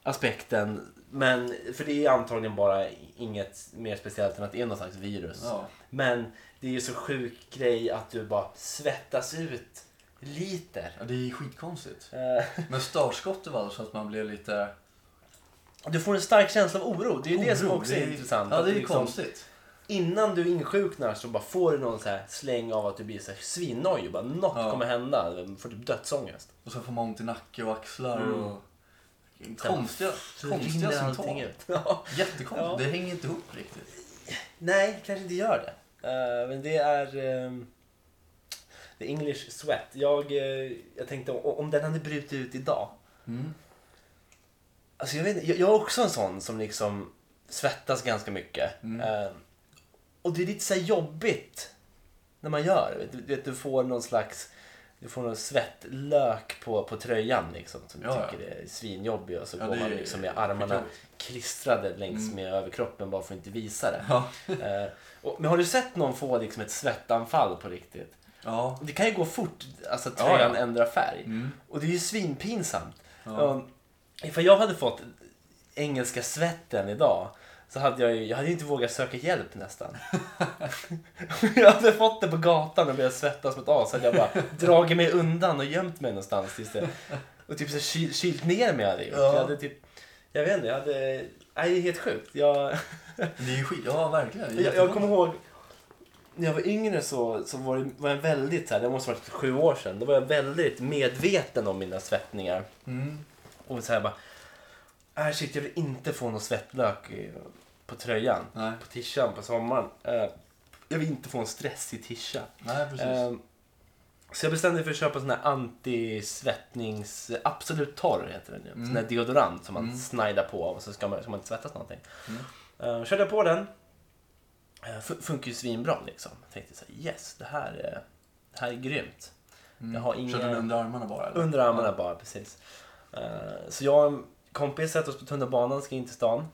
Speaker 2: aspekten. Men, för det är antagligen bara inget mer speciellt än att det är någon slags virus.
Speaker 1: Ja.
Speaker 2: Men det är ju så sjuk grej att du bara svettas ut liter.
Speaker 1: Ja, det är skitkonstigt.
Speaker 2: Eh,
Speaker 1: Men startskottet var så att man blev lite...
Speaker 2: du får en stark känsla av oro. Det är ju det som
Speaker 1: Oro,
Speaker 2: också är, intressant.
Speaker 1: Ja,
Speaker 2: att
Speaker 1: det
Speaker 2: du
Speaker 1: är ju
Speaker 2: liksom-
Speaker 1: konstigt.
Speaker 2: Innan du insjuknar så bara får du någon så här släng av att du blir så här svinnojig. Bara, Något
Speaker 1: Ja.
Speaker 2: kommer hända. Du får typ dödsångest.
Speaker 1: Och sen får man ont i nacke och axlar
Speaker 2: Mm.
Speaker 1: och... Konstiga,
Speaker 2: Så
Speaker 1: konstiga
Speaker 2: rinner
Speaker 1: symptom.
Speaker 2: allting ut. Ja.
Speaker 1: Jättekonstigt.
Speaker 2: Ja.
Speaker 1: Det hänger inte ihop riktigt.
Speaker 2: Nej, kanske inte gör det. Eh, men det är ehm, the English sweat. Jag, eh, jag tänkte o- om den hade brutit ut idag.
Speaker 1: Mm.
Speaker 2: Alltså jag, vet, inte, jag, jag är också en sån som liksom svettas ganska mycket.
Speaker 1: Mm.
Speaker 2: Eh, och det är lite så här jobbigt när man gör. vet Du, du, vet, du får någon slags du får någon svettlök på, på tröjan liksom, som
Speaker 1: Ja, ja.
Speaker 2: du tycker är svinjobbig och så
Speaker 1: Ja,
Speaker 2: går
Speaker 1: det
Speaker 2: man
Speaker 1: är
Speaker 2: liksom med armarna
Speaker 1: skitjobbigt.
Speaker 2: klistrade längs med överkroppen bara för att inte visa det.
Speaker 1: Ja.
Speaker 2: Eh, och, men har du sett någon få liksom ett svettanfall på riktigt?
Speaker 1: Ja.
Speaker 2: Det kan ju gå fort, alltså
Speaker 1: Ja,
Speaker 2: tröjan
Speaker 1: ja.
Speaker 2: ändrar färg.
Speaker 1: Mm.
Speaker 2: Och det är ju svinpinsamt.
Speaker 1: Ja.
Speaker 2: Um, ifall jag hade fått engelska svetten idag så hade jag ju, jag hade ju inte vågat söka hjälp nästan. Om jag hade fått det på gatan och börjat svettas som ett as så hade jag bara dragit mig undan och gömt mig någonstans tills det, och typ så kyl, kylt ner mig hade jag gjort.
Speaker 1: Ja.
Speaker 2: Jag hade typ, jag vet inte, jag hade, nej det är helt sjukt. Jag,
Speaker 1: Det är ju skit... Ja, verkligen. Det är
Speaker 2: jag, jag kommer
Speaker 1: jättekonstigt.
Speaker 2: ihåg när jag var yngre så, så var, det, var jag väldigt, så här, det måste ha varit sju år sedan, då var jag väldigt medveten om mina svettningar.
Speaker 1: Mm.
Speaker 2: Och så här bara, äh, shit jag vill inte få någon svettlök i- på tröjan,
Speaker 1: Nej.
Speaker 2: på tishan på sommaren. Eh, jag vill inte få en stressig tisha.
Speaker 1: Nej, precis.
Speaker 2: Eh, så jag bestämde mig för att köpa sån här anti-svettnings... Absolut torr heter den ju. Sån här deodorant som man snajdar på och så ska man, ska man inte svettas någonting. Eh, körde jag på den. Eh, fun- funkar ju svinbra liksom. Jag tänkte så här, yes det här, är- det här är grymt. Jag har inga...
Speaker 1: Mm. Körde du under armarna bara eller?
Speaker 2: Under armarna bara, precis. Eh, så jag och en kompis sätter oss på tunnelbanan, ska in till stan.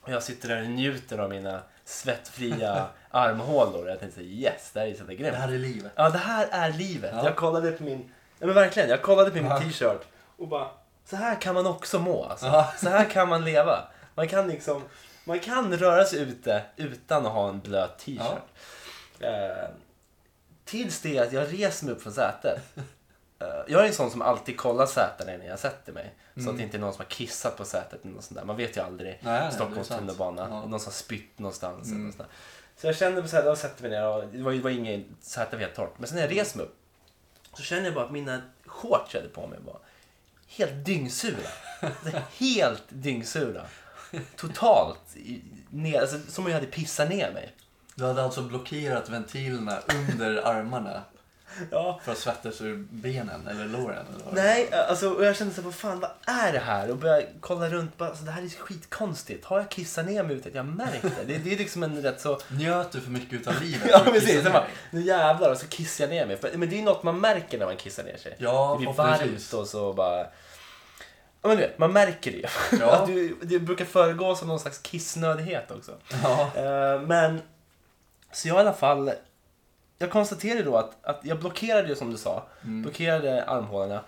Speaker 2: Och jag sitter där och njuter av mina svettfria armhålor. Jag tänkte så här, yes, det här är så jävla
Speaker 1: Det
Speaker 2: grymt.
Speaker 1: här är livet.
Speaker 2: Ja, det här är livet.
Speaker 1: Ja.
Speaker 2: Jag kollade på min, ja men verkligen, jag kollade på min
Speaker 1: Ja.
Speaker 2: t-shirt och bara, så här kan man också må alltså.
Speaker 1: Ja.
Speaker 2: Så här kan man leva. Man kan liksom, man kan röra sig ute utan att ha en blöt t-shirt. Eh, tills det att jag reser mig upp från sätet. Eh, jag är en sån som alltid kollar sätena innan jag sätter mig. Så att det inte är någon som har kissat på sätet eller något sånt där. Man vet ju aldrig.
Speaker 1: Mm. Nej, nej,
Speaker 2: Stockholms
Speaker 1: det är sant.
Speaker 2: tunnelbana.
Speaker 1: Ja. Mm.
Speaker 2: Någon som har spytt någonstans. Eller något sånt där. Så jag kände på sätet, jag sätter mig ner och det var, ju- det var inget säte var helt torrt. Men sen när jag
Speaker 1: Mm.
Speaker 2: reser mig upp så känner jag bara att mina shorts jag hade på mig var helt dyngsura. Alltså, helt dyngsura. Totalt. i- Ner, alltså, som om jag hade pissat ner mig.
Speaker 1: Du hade alltså blockerat ventilerna under armarna.
Speaker 2: Ja.
Speaker 1: För att svettas ur benen eller låren. Eller vad det
Speaker 2: Nej, alltså och jag kände så här, vad fan, vad är det här? Och började kolla runt, bara, alltså, det här är skitkonstigt. Har jag kissat ner mig utan att jag märkt det? det? Det är liksom en rätt så...
Speaker 1: var. Njöt du för mycket utav livet?
Speaker 2: Ja
Speaker 1: för att
Speaker 2: precis,
Speaker 1: kissa
Speaker 2: sen bara,
Speaker 1: ner dig?
Speaker 2: nu jävlar och så kissar jag ner mig. För- Men det är ju något man märker när man kissar ner sig.
Speaker 1: Ja,
Speaker 2: det blir
Speaker 1: förhoppningsvis.
Speaker 2: varmt och så bara... Ja men du vet, man märker det ju.
Speaker 1: Ja.
Speaker 2: Att du, det brukar föregås av någon slags kissnödighet också.
Speaker 1: Ja.
Speaker 2: Eh, men, så jag i alla fall, jag konstaterade då att, att jag blockerade ju som du sa, blockerade armhålorna.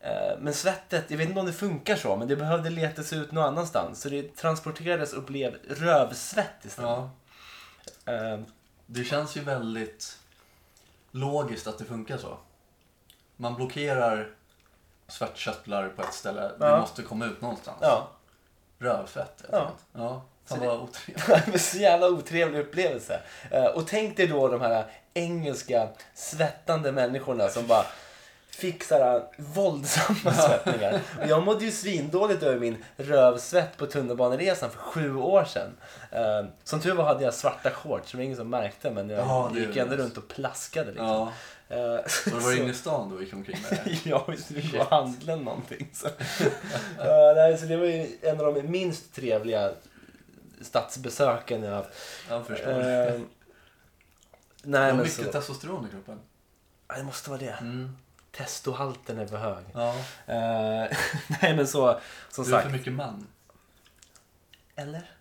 Speaker 2: Eh, men svettet, jag vet inte om det funkar så, men det behövde letas ut någon annanstans. Så det transporterades och blev rövsvett istället.
Speaker 1: ja.
Speaker 2: Eh,
Speaker 1: Det känns ju väldigt logiskt att det funkar så. Man blockerar svettkörtlar på ett ställe.
Speaker 2: Ja.
Speaker 1: Det måste komma ut någonstans.
Speaker 2: ja.
Speaker 1: Rövfett helt
Speaker 2: Ja.
Speaker 1: enkelt. Ja. Fan
Speaker 2: Så
Speaker 1: vad otrevligt.
Speaker 2: Det var så jävla otrevlig upplevelse. Eh, Och tänk dig då de här engelska svettande människorna som bara fick så här våldsamma svettningar. Och jag mådde ju svindåligt över min rövsvett på tunnelbaneresan för sju år sedan. Eh, Som tur var hade jag svarta shorts, så det var ingen som märkte men jag
Speaker 1: Ja, det är
Speaker 2: gick ändå
Speaker 1: nice.
Speaker 2: runt och plaskade lite.
Speaker 1: Ja.
Speaker 2: Eh,
Speaker 1: Och det var
Speaker 2: så-
Speaker 1: inne i stan då gick omkring med det.
Speaker 2: Ja, visst vi gå och handla någonting. Så. Eh, nej, så det var ju en av de minst trevliga stadsbesöken jag haft.
Speaker 1: Jag förstår.
Speaker 2: Eh,
Speaker 1: det
Speaker 2: nej,
Speaker 1: var
Speaker 2: men
Speaker 1: mycket
Speaker 2: så.
Speaker 1: testosteron i kroppen.
Speaker 2: Ja, det måste vara det.
Speaker 1: Mm.
Speaker 2: Testohalten är för hög.
Speaker 1: Ja.
Speaker 2: Eh, nej, men så. Som
Speaker 1: Du är för
Speaker 2: sagt.
Speaker 1: mycket man.
Speaker 2: Eller?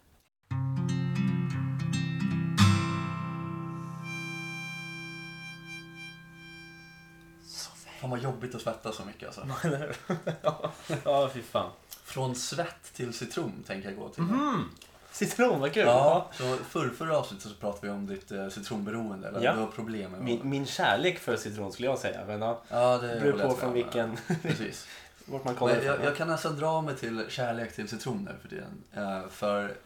Speaker 1: Fan vad jobbigt att svettas så mycket alltså.
Speaker 2: Eller hur? ja, ja, fy fan.
Speaker 1: Från svett till citron tänker jag gå till.
Speaker 2: Mm. Citron, vad kul.
Speaker 1: Ja, så förr, förra avsnittet så pratade vi om ditt eh, citronberoende, eller
Speaker 2: Ja.
Speaker 1: du har problem med
Speaker 2: Min, min kärlek för citron skulle jag säga. Men ja,
Speaker 1: Ja, det
Speaker 2: det beror
Speaker 1: håller jag
Speaker 2: på
Speaker 1: med
Speaker 2: från
Speaker 1: om.
Speaker 2: vilken,
Speaker 1: Precis.
Speaker 2: vart man kommer
Speaker 1: Men
Speaker 2: ifrån.
Speaker 1: jag, jag
Speaker 2: ja.
Speaker 1: kan nästan dra mig till kärlek till citron nu för tiden. Eh, För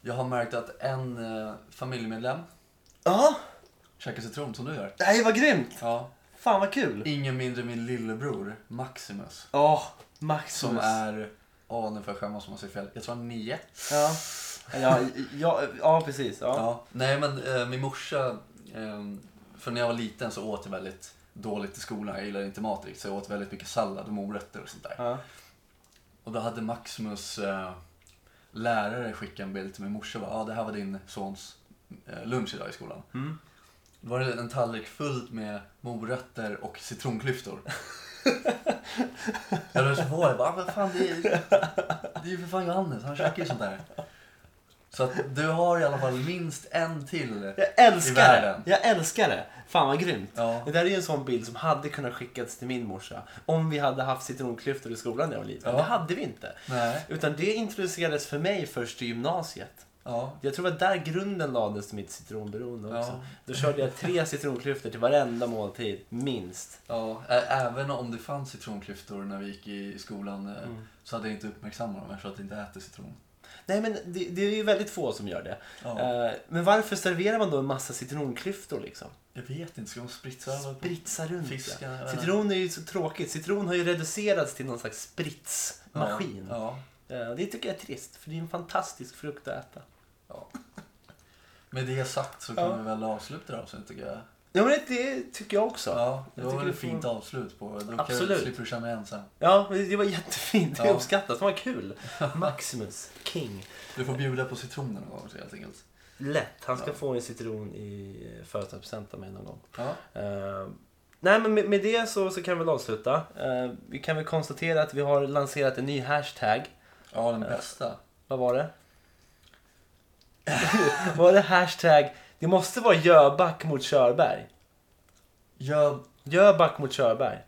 Speaker 1: jag har märkt att en eh, familjemedlem
Speaker 2: Ja,
Speaker 1: käkar citron som du gör.
Speaker 2: nej vad grymt.
Speaker 1: Ja.
Speaker 2: Fan vad kul.
Speaker 1: Ingen mindre än min lillebror Maximus.
Speaker 2: Ja, Maximus.
Speaker 1: Som är, åh nu får jag skämmas om jag säger fel, jag tror han är nio.
Speaker 2: Ja, ja, ja, ja precis. Ja.
Speaker 1: Ja. Nej men eh, min morsa, eh, för när jag var liten så åt jag väldigt dåligt i skolan, jag gillade inte mat riktigt så jag åt väldigt mycket sallad och morötter och sånt där.
Speaker 2: Ja.
Speaker 1: Och då hade Maximus eh, lärare skickat en bild till min morsa och bara, ah, det här var din sons eh, lunch idag i skolan.
Speaker 2: Mm.
Speaker 1: Då var det en tallrik fullt med morötter och citronklyftor. jag blev så förvånad, jag bara, ah, men fan det är, det är ju för fan Johannes, han käkar ju sånt där. Så att du har i alla fall minst en till.
Speaker 2: Jag älskar
Speaker 1: I
Speaker 2: det!
Speaker 1: världen.
Speaker 2: Jag älskar det! Fan vad grymt!
Speaker 1: Ja.
Speaker 2: Det där är ju en sån bild som hade kunnat skickas till min morsa om vi hade haft citronklyftor i skolan när jag var liten.
Speaker 1: Ja.
Speaker 2: Det hade vi inte.
Speaker 1: Nej.
Speaker 2: Utan det introducerades för mig först i gymnasiet.
Speaker 1: Ja.
Speaker 2: Jag tror att där grunden lades till mitt citronberoende också.
Speaker 1: Ja.
Speaker 2: Då körde jag tre citronklyftor till varenda måltid, minst.
Speaker 1: Ja, ä- även om det fanns citronklyftor när vi gick i skolan eh, så hade jag inte uppmärksammat dem eftersom jag inte äter citron.
Speaker 2: Nej men det, det är ju väldigt få som gör det.
Speaker 1: Ja.
Speaker 2: Eh, Men varför serverar man då en massa citronklyftor liksom?
Speaker 1: Jag vet inte, ska de spritsa över? på-
Speaker 2: Spritsa runt.
Speaker 1: Fiska,
Speaker 2: ja.
Speaker 1: jag vet inte.
Speaker 2: Citron är ju så tråkigt. Citron har ju reducerats till någon slags spritsmaskin.
Speaker 1: Ja.
Speaker 2: Eh, Det tycker jag är trist, för det är en fantastisk frukt att äta.
Speaker 1: ja. Med det sagt så kan
Speaker 2: Ja.
Speaker 1: vi väl avsluta det här avsnittet tycker jag.
Speaker 2: Ja, men det- det tycker jag också. Ja.
Speaker 1: Ja, det
Speaker 2: jag
Speaker 1: var
Speaker 2: tycker
Speaker 1: väl
Speaker 2: du
Speaker 1: ett
Speaker 2: får-
Speaker 1: fint avslut på Då
Speaker 2: Absolut.
Speaker 1: Absolut. slipper du känna dig ensam.
Speaker 2: men det var jättefint. Det
Speaker 1: Ja.
Speaker 2: uppskattas. Det var kul. Maximus, king.
Speaker 1: Du får bjuda på citronen någon gång också, helt enkelt.
Speaker 2: Lätt. Han ska
Speaker 1: Ja.
Speaker 2: få en citron i eh, födelsedagspresent av mig någon gång.
Speaker 1: Ja.
Speaker 2: Eh, nej, men med, med det så, så kan vi väl avsluta. Eh, vi kan väl konstatera att vi har lanserat en ny hashtag.
Speaker 1: ja, den
Speaker 2: Ja.
Speaker 1: bästa.
Speaker 2: Vad var det? var det hashtag... Det måste vara Jöback mot Körberg.
Speaker 1: Gör,
Speaker 2: Jöback mot Körberg.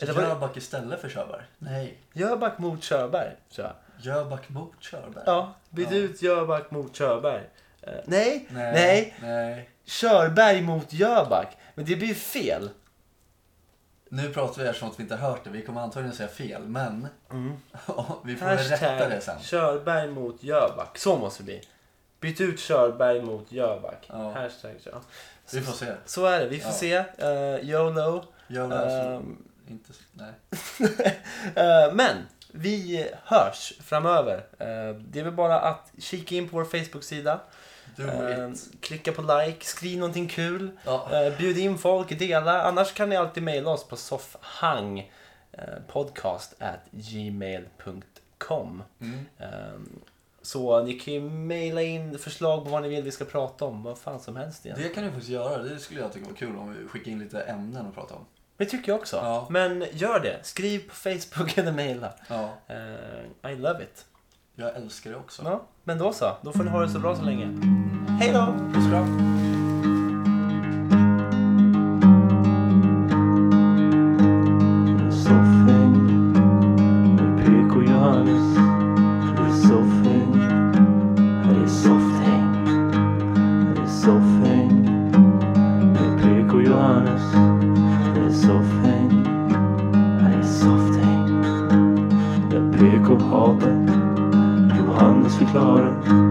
Speaker 2: Eller var det?
Speaker 1: Jöback istället för Körberg? Nej,
Speaker 2: Jöback mot Körberg, tror jag.
Speaker 1: Jöback mot Körberg.
Speaker 2: Ja, byt
Speaker 1: Ja.
Speaker 2: ut Jöback mot Körberg. Eh, nej, nej,
Speaker 1: Nej, nej. nej.
Speaker 2: Körberg mot Jöback. Men det blir ju fel.
Speaker 1: Nu pratar vi eftersom att vi inte har hört det. Vi kommer antagligen säga fel, men vi får väl rätta det sen.
Speaker 2: Mm. Hashtag Körberg mot Jöback. Så måste det bli. Byt ut Körberg mot Jöback.
Speaker 1: Ja.
Speaker 2: Hashtag ja.
Speaker 1: Vi får se.
Speaker 2: Så är det, vi får
Speaker 1: Ja.
Speaker 2: se. Uh, YOLO.
Speaker 1: Gör det här så... Inte... så- Nej.
Speaker 2: Ehm, Eh, men vi hörs framöver. Eh, det är väl bara att kika in på vår Facebook-sida.
Speaker 1: Do
Speaker 2: Eh,
Speaker 1: it.
Speaker 2: klicka på like, skriv någonting kul.
Speaker 1: Ja.
Speaker 2: Eh, bjud in folk, dela. Annars kan ni alltid mejla oss på soffhang eh, podcast at gmail.com
Speaker 1: Mm.
Speaker 2: Ehm, Så ni kan ju mejla in förslag på vad ni vill vi ska prata om. Vad fan som helst egentligen.
Speaker 1: Det kan du faktiskt göra. Det skulle jag tycka var kul om vi skickade in lite ämnen att prata om.
Speaker 2: Det tycker jag också.
Speaker 1: Ja.
Speaker 2: Men gör det. Skriv på Facebook eller mejla.
Speaker 1: Ja,
Speaker 2: Ehm, I love it.
Speaker 1: jag älskar det också.
Speaker 2: Ja, men då så. Då får ni ha det så bra så länge. Hej då!
Speaker 1: Puss och kram.
Speaker 4: Soffhäng med PK Johannes. Här är soffhäng. Här är softhäng. Här är soffhäng med PK Johannes. Här är soffhäng. Här är softhäng. Där PK hatar. Johannes förklarar.